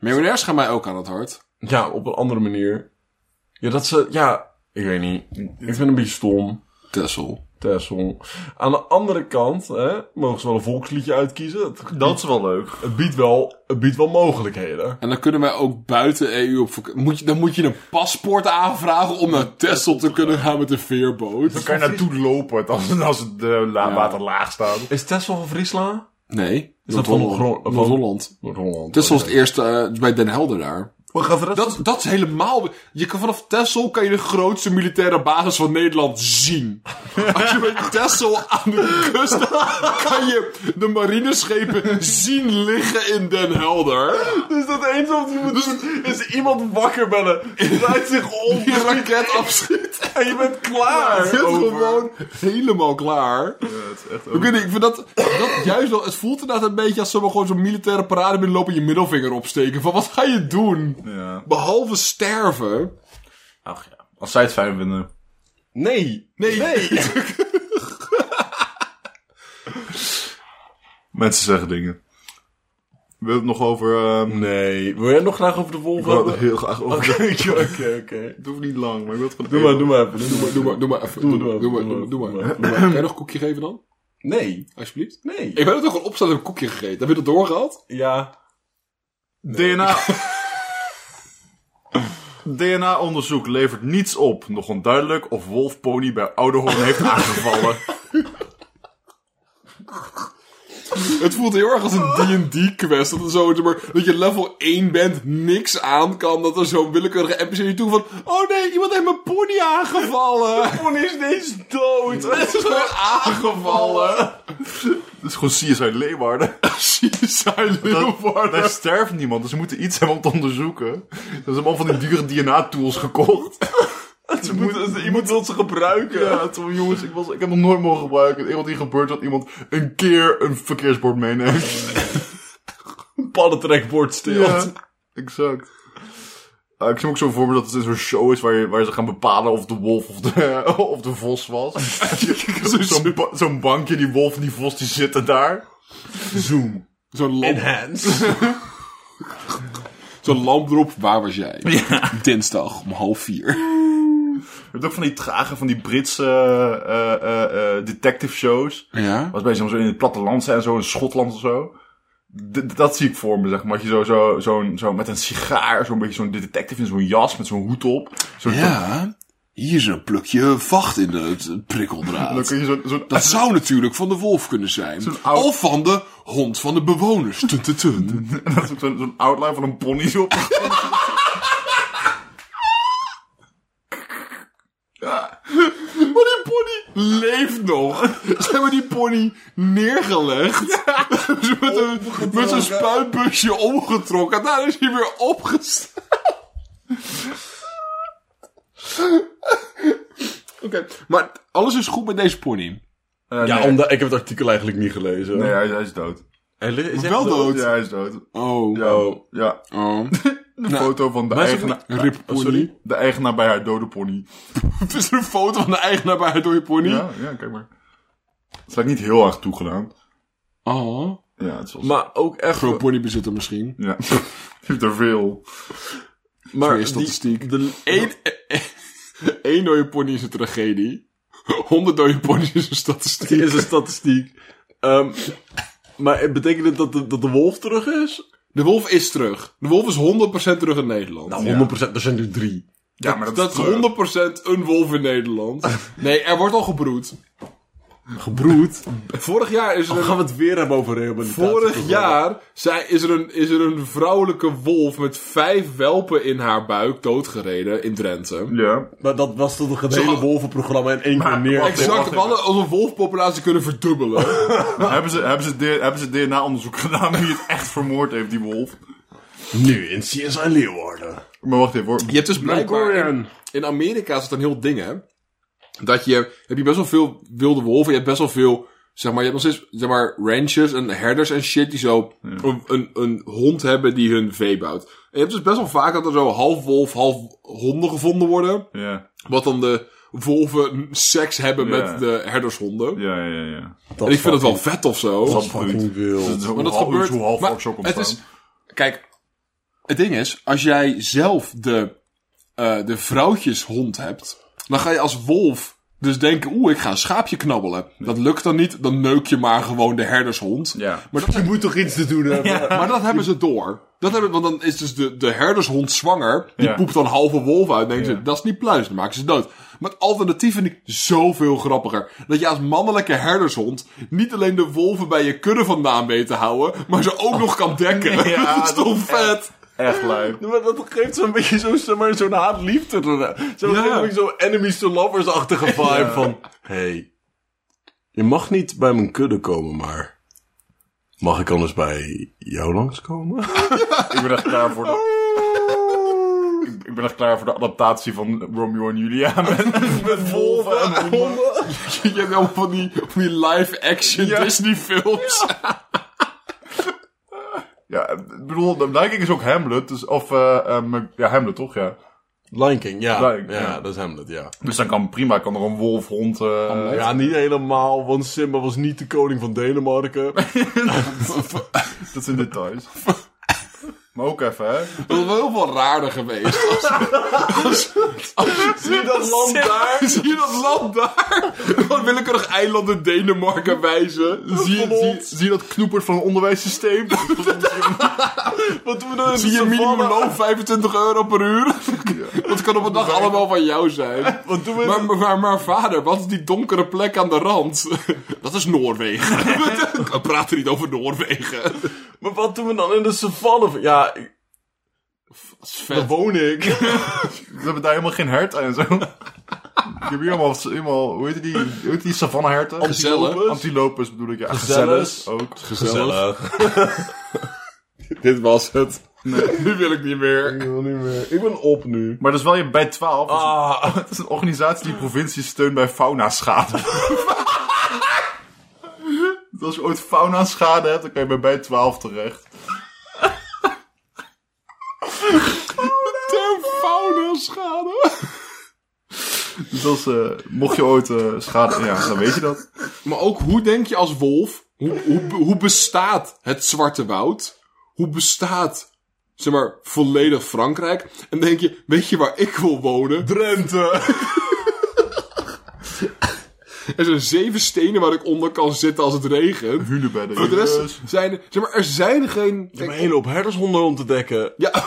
Speaker 2: Miljonairs gaan mij ook aan het hart.
Speaker 5: Ja, op een andere manier. Ja, dat ze... Ja, ik weet niet. Ik vind het een beetje stom.
Speaker 2: Tessel.
Speaker 5: Tessel. Aan de andere kant, hè, mogen ze wel een volksliedje uitkiezen. Het,
Speaker 3: Dat is wel leuk.
Speaker 5: het biedt, wel, het biedt wel mogelijkheden.
Speaker 2: En dan kunnen wij ook buiten EU op vakantie. Moet je, dan moet je een paspoort aanvragen om naar Tessel te kunnen gaan met een
Speaker 3: Dan
Speaker 2: veerboot.
Speaker 3: kan je naartoe lopen als, als het eh, la-
Speaker 2: Ja.
Speaker 3: water laag staat.
Speaker 5: Is Tessel van Friesland?
Speaker 2: Nee.
Speaker 5: Is dat van Gro-
Speaker 2: Noord-Holland.
Speaker 5: van-
Speaker 2: Noord-Holland.
Speaker 5: Noord-Holland.
Speaker 2: Tessel is het eerste eh, is bij Den Helder daar.
Speaker 5: We gaan verder.
Speaker 2: Dat, dat is helemaal... Je kan vanaf Tessel kan je de grootste militaire basis van Nederland zien. Als je met Tessel aan de kust... kan je de marineschepen zien liggen in Den Helder.
Speaker 3: Dus
Speaker 5: Is dat eens of je moet doen? Is iemand wakker bellen? Draait zich om.
Speaker 2: Die raket afschiet.
Speaker 5: En je bent
Speaker 2: Het
Speaker 5: klaar.
Speaker 2: is
Speaker 5: Over.
Speaker 2: gewoon helemaal klaar.
Speaker 3: Het is echt
Speaker 2: Ik weet niet, ik vind dat, dat juist wel... Het voelt inderdaad een beetje als zomaar gewoon zo'n militaire parade binnenlopen... en je middelvinger opsteken. Van wat ga je doen?
Speaker 3: Ja.
Speaker 2: Behalve sterven.
Speaker 3: Ach ja. Als zij het fijn vinden.
Speaker 5: Nee. Nee.
Speaker 3: Mensen zeggen dingen. Wil je het nog over... ehm,
Speaker 5: Nee. Wil jij nog graag over de
Speaker 3: ik wil
Speaker 5: volgende?
Speaker 3: het heel graag over...
Speaker 5: Oké, oké, (laughs) oké, oké.
Speaker 3: Het hoeft niet lang, maar (laughs) ik wil het gewoon
Speaker 5: Doe maar, doe maar even. Doe
Speaker 2: (laughs) Doe maar,
Speaker 5: maar,
Speaker 2: doe maar even. Doe, maar, doe, maar, doe, maar, doe, maar, Doe maar. Kan je nog een koekje geven dan?
Speaker 5: Nee.
Speaker 2: Alsjeblieft.
Speaker 5: Nee.
Speaker 2: Ik ben er toch gewoon opstaan en een koekje gegeten. Heb je dat doorgehad?
Speaker 5: Ja.
Speaker 3: DNA... (laughs) DNA-onderzoek levert niets op. Nog onduidelijk of Wolf Pony bij Oudehoorn heeft (laughs) aangevallen.
Speaker 2: Het voelt heel erg als een D&D-quest. Dat, er zo, zeg maar, dat je level 1 bent, niks aan kan. Dat er zo'n willekeurige NPC je toe van... Oh nee, iemand heeft mijn pony (laughs) aangevallen.
Speaker 5: Pony is ineens dood.
Speaker 2: Het is gewoon
Speaker 3: (laughs)
Speaker 2: aangevallen.
Speaker 3: Dat is gewoon CSI Leeuwarden.
Speaker 5: (laughs)
Speaker 2: Suicide
Speaker 3: Daar,
Speaker 2: Leeuwarden.
Speaker 3: daar sterft niemand, dus ze moeten iets hebben om te onderzoeken. Ze hebben allemaal van die dure DNA-tools
Speaker 5: (laughs)
Speaker 3: gekocht.
Speaker 5: Je moet, je moet ze gebruiken.
Speaker 3: Ja, het is wel, jongens, ik, was, ik heb nog nooit mogen gebruiken. Het enige wat hier gebeurt is dat iemand een keer een verkeersbord meeneemt.
Speaker 5: (laughs) Paddentrekbord stil.
Speaker 3: Ja, exact. Ah, ik zie me ook zo'n voorbeeld dat het in zo'n show is waar, je, waar ze gaan bepalen of de wolf of de, (laughs) of de vos was. zo'n ba- zo'n bankje, die wolf en die vos, die zitten daar.
Speaker 2: Zoom. Zo'n lamp,
Speaker 3: (laughs)
Speaker 5: Enhance.
Speaker 2: zo'n lamp erop. Waar was jij? Dinsdag om half vier.
Speaker 3: Je hebt ook van die trage, van die Britse eh, eh, eh, detective shows.
Speaker 2: Ja?
Speaker 3: Was bij zo in het platteland zijn, zo in Schotland of zo. D- dat zie ik voor me, zeg maar. Dat je zo, zo, zo'n zo met een sigaar, zo'n beetje zo'n detective in zo'n jas met zo'n hoed op. Zo'n
Speaker 2: Ja. Hier is een plukje vacht in het
Speaker 3: En Dan
Speaker 2: prikkeldraad.
Speaker 3: kun je zo'n (laughs) zo'n
Speaker 2: Dat zou natuurlijk van de wolf kunnen zijn.
Speaker 3: oud-
Speaker 2: Of van de hond van de bewoners. Tun, tun, tun.
Speaker 3: en dan is ook zo'n zo'n outline van een pony zo op.
Speaker 2: Maar die pony leeft nog. Ze hebben die pony neergelegd. (laughs) Ze met een- met zo'n spuitbusje omgetrokken. Daar is hij weer opgestaan. (laughs) Oké, maar alles is goed met deze pony.
Speaker 3: Eh,
Speaker 5: Ja,
Speaker 3: nee.
Speaker 5: omdat ik heb het artikel eigenlijk niet gelezen.
Speaker 3: Nee, hij, hij is dood.
Speaker 5: Hij li- is echt
Speaker 2: Wel dood.
Speaker 3: Ja, hij is dood.
Speaker 2: Oh,
Speaker 3: Ja.
Speaker 5: Oh.
Speaker 3: Ja,
Speaker 2: oh. (laughs)
Speaker 3: een foto van de
Speaker 5: maar is het
Speaker 3: eigenaar,
Speaker 2: Rip
Speaker 5: Oh,
Speaker 2: pony.
Speaker 5: sorry.
Speaker 3: de eigenaar bij haar dode pony.
Speaker 2: Het is een foto van de eigenaar bij haar dode pony.
Speaker 3: Ja, ja, kijk maar. Dat is eigenlijk niet heel erg toegedaan.
Speaker 2: Oh.
Speaker 3: Ja, het is wel...
Speaker 5: Maar ook echt...
Speaker 2: Pro ponybezitter misschien.
Speaker 3: Ja, (laughs) heeft er veel.
Speaker 5: Maar
Speaker 2: Meer statistiek.
Speaker 5: Die, de,
Speaker 2: Eén, (laughs) één dode pony is een tragedie. Honderd dode ponies is een statistiek.
Speaker 5: die is een statistiek. Ehm, maar betekent het dat de, dat de wolf terug is?
Speaker 2: De wolf is terug. De wolf is 100% terug in Nederland.
Speaker 5: Nou, 100%. Er zijn nu drie.
Speaker 3: Ja, maar dat,
Speaker 2: dat
Speaker 3: is
Speaker 2: is 100% een wolf in Nederland. Nee, er wordt al gebroed.
Speaker 5: Gebroed.
Speaker 2: Vorig jaar is er
Speaker 5: Dan
Speaker 2: een,
Speaker 5: Oh, gaan we het weer hebben over rehabilitatie.
Speaker 2: vorig jaar zij, is, er een, is er een vrouwelijke wolf met vijf welpen in haar buik doodgereden in Drenthe.
Speaker 3: Ja.
Speaker 5: Maar dat was toch het hele
Speaker 2: Zo-
Speaker 5: wolvenprogramma in één keer neer.
Speaker 3: wacht,
Speaker 2: Exact, we hadden onze wolfpopulatie kunnen verdubbelen.
Speaker 3: Hebben ze, hebben ze, D- hebben ze DNA-onderzoek gedaan wie het echt vermoord heeft, die wolf?
Speaker 5: Nu in CSI Leeuwarden.
Speaker 3: Maar wacht even hoor.
Speaker 2: (laughs) Je hebt dus (laughs) blijkbaar... in-
Speaker 5: Mandalorian.
Speaker 2: in Amerika is het een heel ding, hè? Dat je, heb je best wel veel wilde wolven, je hebt best wel veel, zeg maar, je hebt nog steeds, zeg maar, ranchers en herders en shit die zo een, een, een hond hebben die hun vee bouwt. En je hebt dus best wel vaak dat er zo half wolf, half honden gevonden worden,
Speaker 3: Ja.
Speaker 2: wat dan de wolven seks hebben
Speaker 3: Ja.
Speaker 2: met de herdershonden.
Speaker 3: Ja, ja, ja.
Speaker 2: en ik vind het wel vet of zo.
Speaker 3: Dat is
Speaker 5: fucking wild.
Speaker 2: Maar dat gebeurt.
Speaker 3: Hoe half
Speaker 2: maar
Speaker 3: Fox ook
Speaker 2: het
Speaker 3: ontstaan.
Speaker 2: is, Kijk, het ding is, als jij zelf de, eh, de vrouwtjeshond hebt, dan ga je als wolf dus denken, oeh, ik ga een schaapje knabbelen. Dat lukt dan niet, dan neuk je maar gewoon de herdershond.
Speaker 3: Ja.
Speaker 2: Maar, dat,
Speaker 5: moet toch iets te doen hebben?
Speaker 2: maar dat hebben ze door. Dat hebben, want dan is dus de, de herdershond zwanger. Die
Speaker 3: Ja.
Speaker 2: poept dan halve wolf uit. Denken
Speaker 3: Ja.
Speaker 2: ze, dat is niet pluis. Dan maken ze dood. Maar het alternatief vind ik zoveel grappiger. Dat je als mannelijke herdershond niet alleen de wolven bij je kudde vandaan weet te houden. Maar ze ook nog kan dekken.
Speaker 3: (laughs) Ja,
Speaker 2: dat is
Speaker 3: dat
Speaker 2: toch vet?
Speaker 3: Echt leuk.
Speaker 5: Maar dat geeft zo'n beetje zo'n zeg maar, zo'n haat-liefde. Zo'n
Speaker 2: Ja.
Speaker 5: zo'n zo'n enemies
Speaker 3: (laughs)
Speaker 5: to lovers-achtige vibe van... hey, je mag niet bij mijn kudde komen, maar... Mag ik anders bij jou langskomen?
Speaker 3: (laughs) Ik ben echt klaar voor de...
Speaker 5: Oh.
Speaker 3: Ik- Ik ben echt klaar voor de adaptatie van Romeo en
Speaker 5: (laughs)
Speaker 3: Julia met, met wolven en honden. (laughs)
Speaker 2: Je hebt allemaal van die, van die live action
Speaker 3: Ja.
Speaker 2: Disney films.
Speaker 3: Ja, ik bedoel, de Lion King is ook Hamlet, dus, of, eh, eh, ja, Hamlet toch, ja.
Speaker 5: Lion King, ja.
Speaker 3: Lion King,
Speaker 5: ja,
Speaker 3: ja.
Speaker 5: dat is Hamlet, ja.
Speaker 3: Dus dan kan prima, kan er een wolfhond... eh
Speaker 5: Ja, niet helemaal, want Simba was niet de koning van
Speaker 2: (laughs)
Speaker 5: Denemarken.
Speaker 3: dat zijn details. maar ook even, hè.
Speaker 2: Dat was wel heel veel raarder geweest.
Speaker 5: Zie je dat land daar?
Speaker 2: Zie je dat land daar? Gewoon willekeurig eilanden Denemarken wijzen.
Speaker 3: Zie je,
Speaker 5: Volhond.
Speaker 3: zie, zie je dat knoepert van het onderwijssysteem?
Speaker 2: (laughs)
Speaker 5: Wat doen we nou in
Speaker 2: Zie je
Speaker 5: de savanne?
Speaker 2: (laughs) minimumloon 25 euro per uur? Dat kan op een dag allemaal van jou zijn.
Speaker 5: (laughs) Wat doen we
Speaker 2: Maar, maar, maar, maar vader, wat is die donkere plek aan de rand? (laughs) Dat is
Speaker 5: (laughs)
Speaker 2: Noorwegen. We praten niet over Noorwegen.
Speaker 5: Maar wat doen we dan in de savanne? Ja, ik-
Speaker 2: Dat is
Speaker 5: daar
Speaker 2: vet.
Speaker 5: woon
Speaker 2: (laughs)
Speaker 5: ik.
Speaker 3: We hebben daar helemaal geen herten en zo. Ik heb hier helemaal, helemaal hoe heet die, hoe heet die savanneherten?
Speaker 2: Gezellen.
Speaker 3: Antilopes bedoel ik, ja.
Speaker 5: Gezelles.
Speaker 3: ook.
Speaker 5: Gezellig.
Speaker 2: Dit was het. Nu wil ik niet meer.
Speaker 5: Ik wil niet meer. Ik ben op nu.
Speaker 3: Maar dat is wel je bij 12. (laughs) dat is-
Speaker 5: Ah,
Speaker 3: Het is een organisatie die provincies steunt bij faunaschade. (laughs) dus als je ooit faunaschade hebt, dan kan je bij bij 12 terecht.
Speaker 2: (laughs) Term fauna schade.
Speaker 3: Dus dat is, eh, mocht je ooit eh, schade... Ja, dan weet je dat.
Speaker 2: Maar ook, hoe denk je als wolf? Hoe, hoe, hoe bestaat het Zwarte Woud? Hoe bestaat, zeg maar, volledig Frankrijk? En denk je, weet je waar ik wil wonen?
Speaker 5: Drenthe.
Speaker 2: (laughs) Er zijn zeven stenen waar ik onder kan zitten als het regent.
Speaker 3: Hunebedden.
Speaker 2: Voor de
Speaker 3: Yes.
Speaker 2: rest zijn er, zeg maar, er zijn geen...
Speaker 5: Om een op herdershonden om te dekken.
Speaker 2: Ja, (laughs)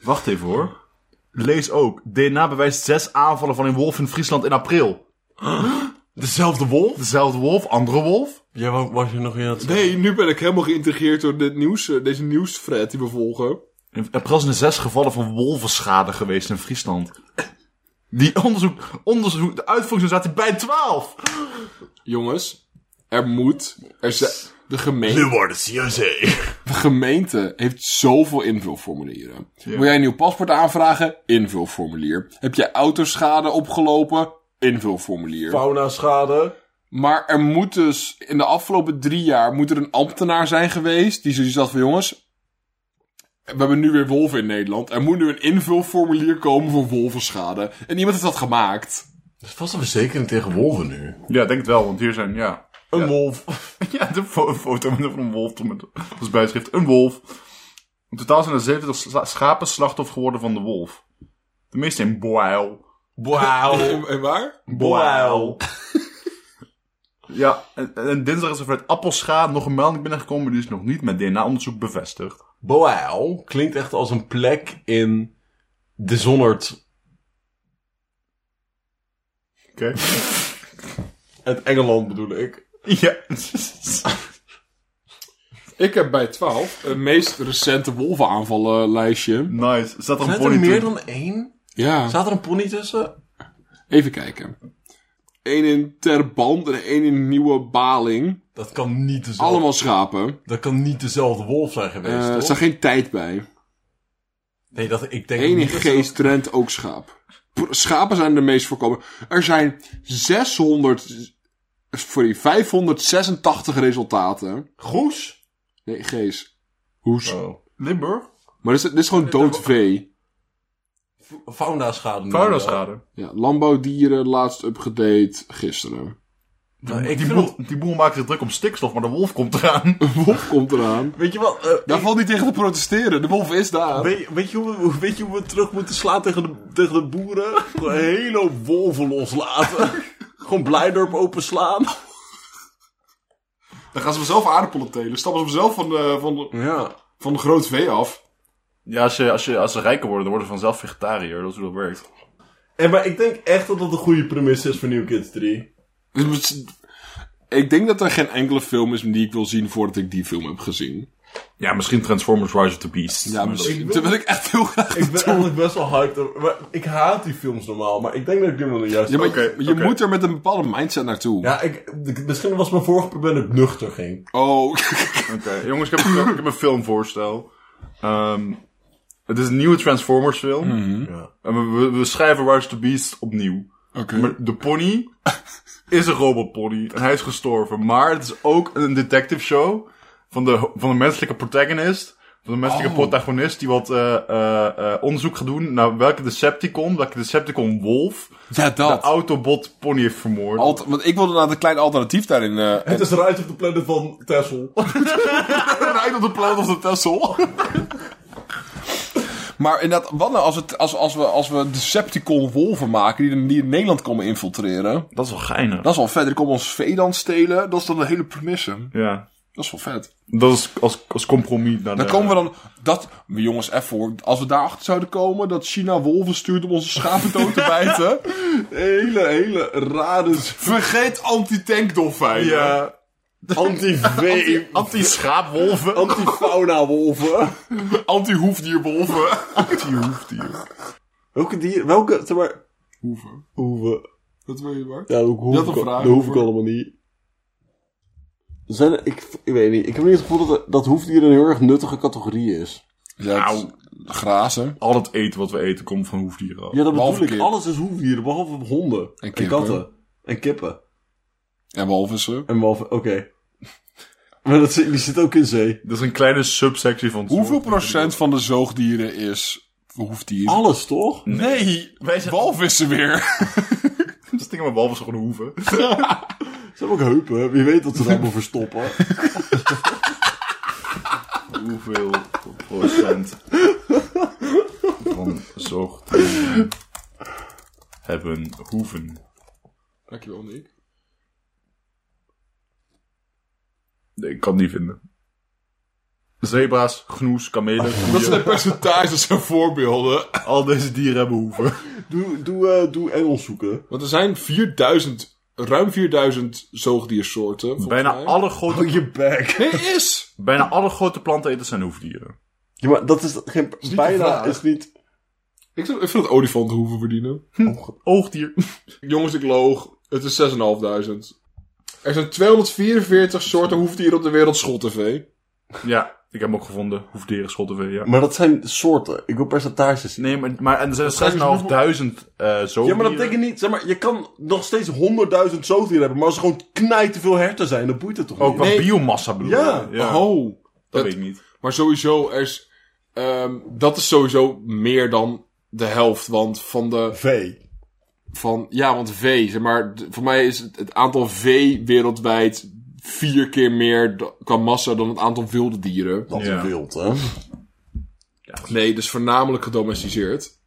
Speaker 3: Wacht even hoor. Lees ook. DNA bewijst zes aanvallen van een wolf in Friesland in april.
Speaker 5: Dezelfde wolf?
Speaker 3: (gasps) Dezelfde wolf, andere wolf.
Speaker 5: Jij wa- was je nog in het...
Speaker 2: nee, nu ben ik helemaal geïntegreerd door dit nieuws, eh, deze nieuwsfred die we volgen.
Speaker 3: In april zijn er zes gevallen van wolvenschade geweest in Friesland. Die onderzoek, onderzoek, de uitvoeringsorganisatie bij 12.
Speaker 2: Jongens, er moet... Er zijn, de gemeente...
Speaker 5: wordt het CRC.
Speaker 2: gemeente heeft zoveel invulformulieren. Wil jij een nieuw paspoort aanvragen? Invulformulier. Heb jij autoschade opgelopen? Invulformulier.
Speaker 5: Fauna schade.
Speaker 2: Maar er moet dus in de afgelopen drie jaar moet er een ambtenaar zijn geweest die zoiets had van jongens. We hebben nu weer wolven in Nederland. Er moet nu een invulformulier komen voor wolvenschade. En iemand heeft dat gemaakt.
Speaker 5: Dat is vast een verzekering tegen wolven nu.
Speaker 3: Ja, ik denk het wel, want hier zijn, ja. (laughs)
Speaker 5: Een wolf.
Speaker 3: Ja, de fo- een foto met van een wolf toen met als bijschrift een wolf. In totaal zijn er 70 sla- schapen slachtoffer geworden van de wolf. De meeste in Boel.
Speaker 5: (laughs) Wauw.
Speaker 2: En, en waar?
Speaker 3: (laughs)
Speaker 5: Boel.
Speaker 3: Ja, en, en dinsdag is er vanuit Appelscha nog een melding binnengekomen, maar die is nog niet met DNA-onderzoek bevestigd.
Speaker 5: Boel klinkt echt als een plek in Dishonored.
Speaker 3: Oké.
Speaker 5: Het Engeland bedoel ik.
Speaker 3: (laughs) ja.
Speaker 2: Ik heb bij 12 het meest recente wolvenaanvallenlijstje.
Speaker 3: nice. Staat er een
Speaker 5: Zijn er
Speaker 3: pony
Speaker 5: meer
Speaker 3: tussen?
Speaker 5: dan één?
Speaker 2: Ja.
Speaker 5: Staat er een pony tussen?
Speaker 2: Even kijken. Eén in Terband en één in Nieuwe Baling.
Speaker 5: Dat kan niet dezelfde,
Speaker 2: Allemaal schapen.
Speaker 5: dat kan niet dezelfde wolf zijn
Speaker 2: Eh,
Speaker 5: geweest,
Speaker 2: er
Speaker 5: toch?
Speaker 2: staat geen tijd bij.
Speaker 5: Nee, dat, ik denk
Speaker 2: Eén in
Speaker 5: niet dat ze-
Speaker 2: geest, Trent ook schaap. Pr- Schapen zijn de meest voorkomen. Er zijn 600... Sorry, 586 resultaten.
Speaker 5: Goes?
Speaker 2: Nee, gees. Hoes.
Speaker 5: Oh.
Speaker 3: Limburg?
Speaker 2: Maar dit is, dit is gewoon dood vee.
Speaker 5: Fauna-schade.
Speaker 3: Faunaschade.
Speaker 2: Ja, landbouwdieren, laatst upgedate, gisteren.
Speaker 3: Die, boer, die boer maakt zich druk om stikstof, maar de wolf
Speaker 2: (laughs)
Speaker 3: komt eraan.
Speaker 2: De wolf komt eraan.
Speaker 5: Weet je wat? eh,
Speaker 2: Daar valt niet tegen te protesteren. De wolf is daar.
Speaker 5: weet, weet je hoe, we- weet je hoe we terug moeten slaan tegen de, tegen de boeren? Gewoon een hele hoop wolven (laughs) loslaten. Gewoon Blijdorp openslaan.
Speaker 2: Dan gaan ze mezelf aardappelen telen. Stappen ze mezelf van eh, de, van de,
Speaker 5: Ja.
Speaker 2: van de groot vee af.
Speaker 3: Ja, als, je, als, je, als ze rijker worden, dan worden ze vanzelf vegetariër. Dat is hoe dat werkt.
Speaker 5: En, maar ik denk echt dat dat een goede premisse is voor New Kids 3.
Speaker 2: Dus met- Ik denk dat er geen enkele film is die ik wil zien voordat ik die film heb gezien.
Speaker 3: Ja, misschien Transformers Rise of the Beast.
Speaker 2: Ja, misschien. Terwijl ik echt heel
Speaker 5: (laughs)
Speaker 2: graag...
Speaker 5: Ik ben eigenlijk best wel hard. op- Maar ik haat die films normaal, maar ik denk dat ik nu wel een juiste...
Speaker 2: Ja, maar
Speaker 3: Oké,
Speaker 2: je
Speaker 3: oké.
Speaker 2: moet er met een bepaalde mindset naartoe.
Speaker 5: Ja, ik, ik- misschien was mijn vorige probleem dat ik nuchter ging.
Speaker 2: Oh, (laughs)
Speaker 3: Oké, jongens, ik heb, een- ik heb een filmvoorstel. Ehm, het is een nieuwe Transformers film.
Speaker 2: Mhm.
Speaker 5: Ja.
Speaker 3: En we, we, we schrijven Rise of the Beast opnieuw.
Speaker 2: oké.
Speaker 3: Maar de
Speaker 2: (laughs)
Speaker 3: pony is een robotpony. En hij is gestorven. Maar het is ook een detective show van de, van de menselijke protagonist. Van de menselijke
Speaker 2: Oh.
Speaker 3: protagonist die wat eh, eh, eh, onderzoek gaat doen naar welke Decepticon, welke Decepticon wolf,
Speaker 2: Ja,
Speaker 3: de
Speaker 2: dat.
Speaker 3: Autobot pony heeft vermoord.
Speaker 2: Alt- want ik wilde inderdaad een klein alternatief daarin. (laughs) eh,
Speaker 5: Het is eruit op de planet van (laughs) Tessel.
Speaker 2: rijdt op de plaat of de Tessel. (laughs) maar inderdaad, wat nou als, het, als, als, we, als we Decepticon wolven maken die, die in Nederland komen infiltreren?
Speaker 3: Dat is wel geinig.
Speaker 2: Dat is wel vet. Die komen ons vee dan stelen. Dat is dan de hele premisse.
Speaker 3: Ja.
Speaker 2: Dat is wel vet.
Speaker 3: Dat is als, als compromis naar
Speaker 2: Dan
Speaker 3: de-
Speaker 2: komen we dan... Dat, maar jongens, even hoor. Als we daarachter zouden komen dat China wolven stuurt om onze schapen dood te (laughs) bijten. Hele, hele rare... Vergeet anti-tankdolfijnen.
Speaker 3: Ja.
Speaker 2: (laughs)
Speaker 5: Anti-vee.
Speaker 3: Anti-schaapwolven.
Speaker 5: Anti-fauna-wolven.
Speaker 2: Anti-hoefdierwolven. (laughs)
Speaker 3: Anti-hoefdier.
Speaker 5: Welke dier? Welke? Zeg maar.
Speaker 2: Hoeven.
Speaker 5: Hoeven.
Speaker 2: Dat weet je maar.
Speaker 5: Ja, dat hoef,
Speaker 2: Je had
Speaker 5: ik,
Speaker 2: een vraag,
Speaker 5: dat hoef ik
Speaker 2: hoeven.
Speaker 5: allemaal niet. Zijn er- ik, ik weet niet. Ik heb niet het gevoel dat, dat hoefdieren een heel erg nuttige categorie is.
Speaker 2: Ja, het- grazen.
Speaker 3: (laughs) Al het eten wat we eten komt van hoefdieren af.
Speaker 5: Ja, dat
Speaker 2: Behalve
Speaker 5: bedoel ik.
Speaker 2: kip.
Speaker 5: Alles is hoefdieren, behalve honden. En,
Speaker 2: kippen.
Speaker 5: katten. En kippen.
Speaker 2: En walvissen.
Speaker 5: En behalve, oké. (laughs) maar dat, zit- die zit ook in zee.
Speaker 3: Dat is een kleine subsectie van het
Speaker 2: Hoeveel
Speaker 3: soort.
Speaker 2: procent van de zoogdieren is hoefdier?
Speaker 5: Alles, toch?
Speaker 2: nee,
Speaker 3: Wij zijn-
Speaker 2: walvissen weer.
Speaker 3: (laughs) Dat ding met walvis gewoon
Speaker 2: (laughs)
Speaker 3: hoeven.
Speaker 5: Ze hebben ook heupen. Wie
Speaker 3: (laughs)
Speaker 5: weet wat ze er allemaal verstoppen.
Speaker 3: Hoeveel procent van zoogdieren hebben hoeven?
Speaker 2: Dankjewel, Nick.
Speaker 3: Nee, ik kan het niet vinden. Zebra's, gnoes, kamelen, koeien,
Speaker 2: Oh, Dat zijn percentages en voorbeelden.
Speaker 3: al deze dieren hebben hoeven.
Speaker 5: Doe, doe, eh, doe Engels zoeken.
Speaker 2: Want er zijn 4000, ruim 4000 zoogdiersoorten. volgens
Speaker 3: Bijna
Speaker 2: mij. Oh,
Speaker 3: alle, grote,
Speaker 5: je back.
Speaker 2: Nee, is!
Speaker 3: bijna alle grote planteneters zijn hoefdieren.
Speaker 5: Ja, maar dat is geen...
Speaker 2: de
Speaker 5: bijna
Speaker 2: vraag.
Speaker 5: is niet...
Speaker 2: Ik zou- ik vind dat olifanten hoeven verdienen.
Speaker 3: Oogdier.
Speaker 2: Jongens, ik loog. Het is 6.500. Er zijn 244 soorten hoefdieren op de wereld schottevee.
Speaker 3: Ja, ik heb hem ook gevonden. Hoefdieren, schottenvee, ja.
Speaker 5: Maar dat zijn soorten. Ik wil percentages.
Speaker 3: Nee, maar, maar en er zijn 6.500 eh zoogdieren.
Speaker 5: Ja, maar dat betekent niet... Zeg maar, je kan nog steeds 100.000 zoogdieren hebben... maar als er gewoon knijt te veel herten zijn... dan boeit het toch
Speaker 3: Oh,
Speaker 5: niet?
Speaker 3: qua
Speaker 2: Nee.
Speaker 3: biomassa bedoel
Speaker 5: Ja.
Speaker 3: je? Ja,
Speaker 2: Oh.
Speaker 3: dat
Speaker 2: dat-
Speaker 3: weet ik niet.
Speaker 2: Maar sowieso, er is, ehm, dat is sowieso meer dan de helft. Want van de
Speaker 5: Vee.
Speaker 2: van, ja, want vee, zeg maar, d- voor mij is het, het aantal vee wereldwijd vier keer meer da- qua massa dan het aantal wilde dieren.
Speaker 5: Dat
Speaker 3: Ja.
Speaker 5: is wild, hè?
Speaker 2: Nee, dus voornamelijk gedomesticeerd.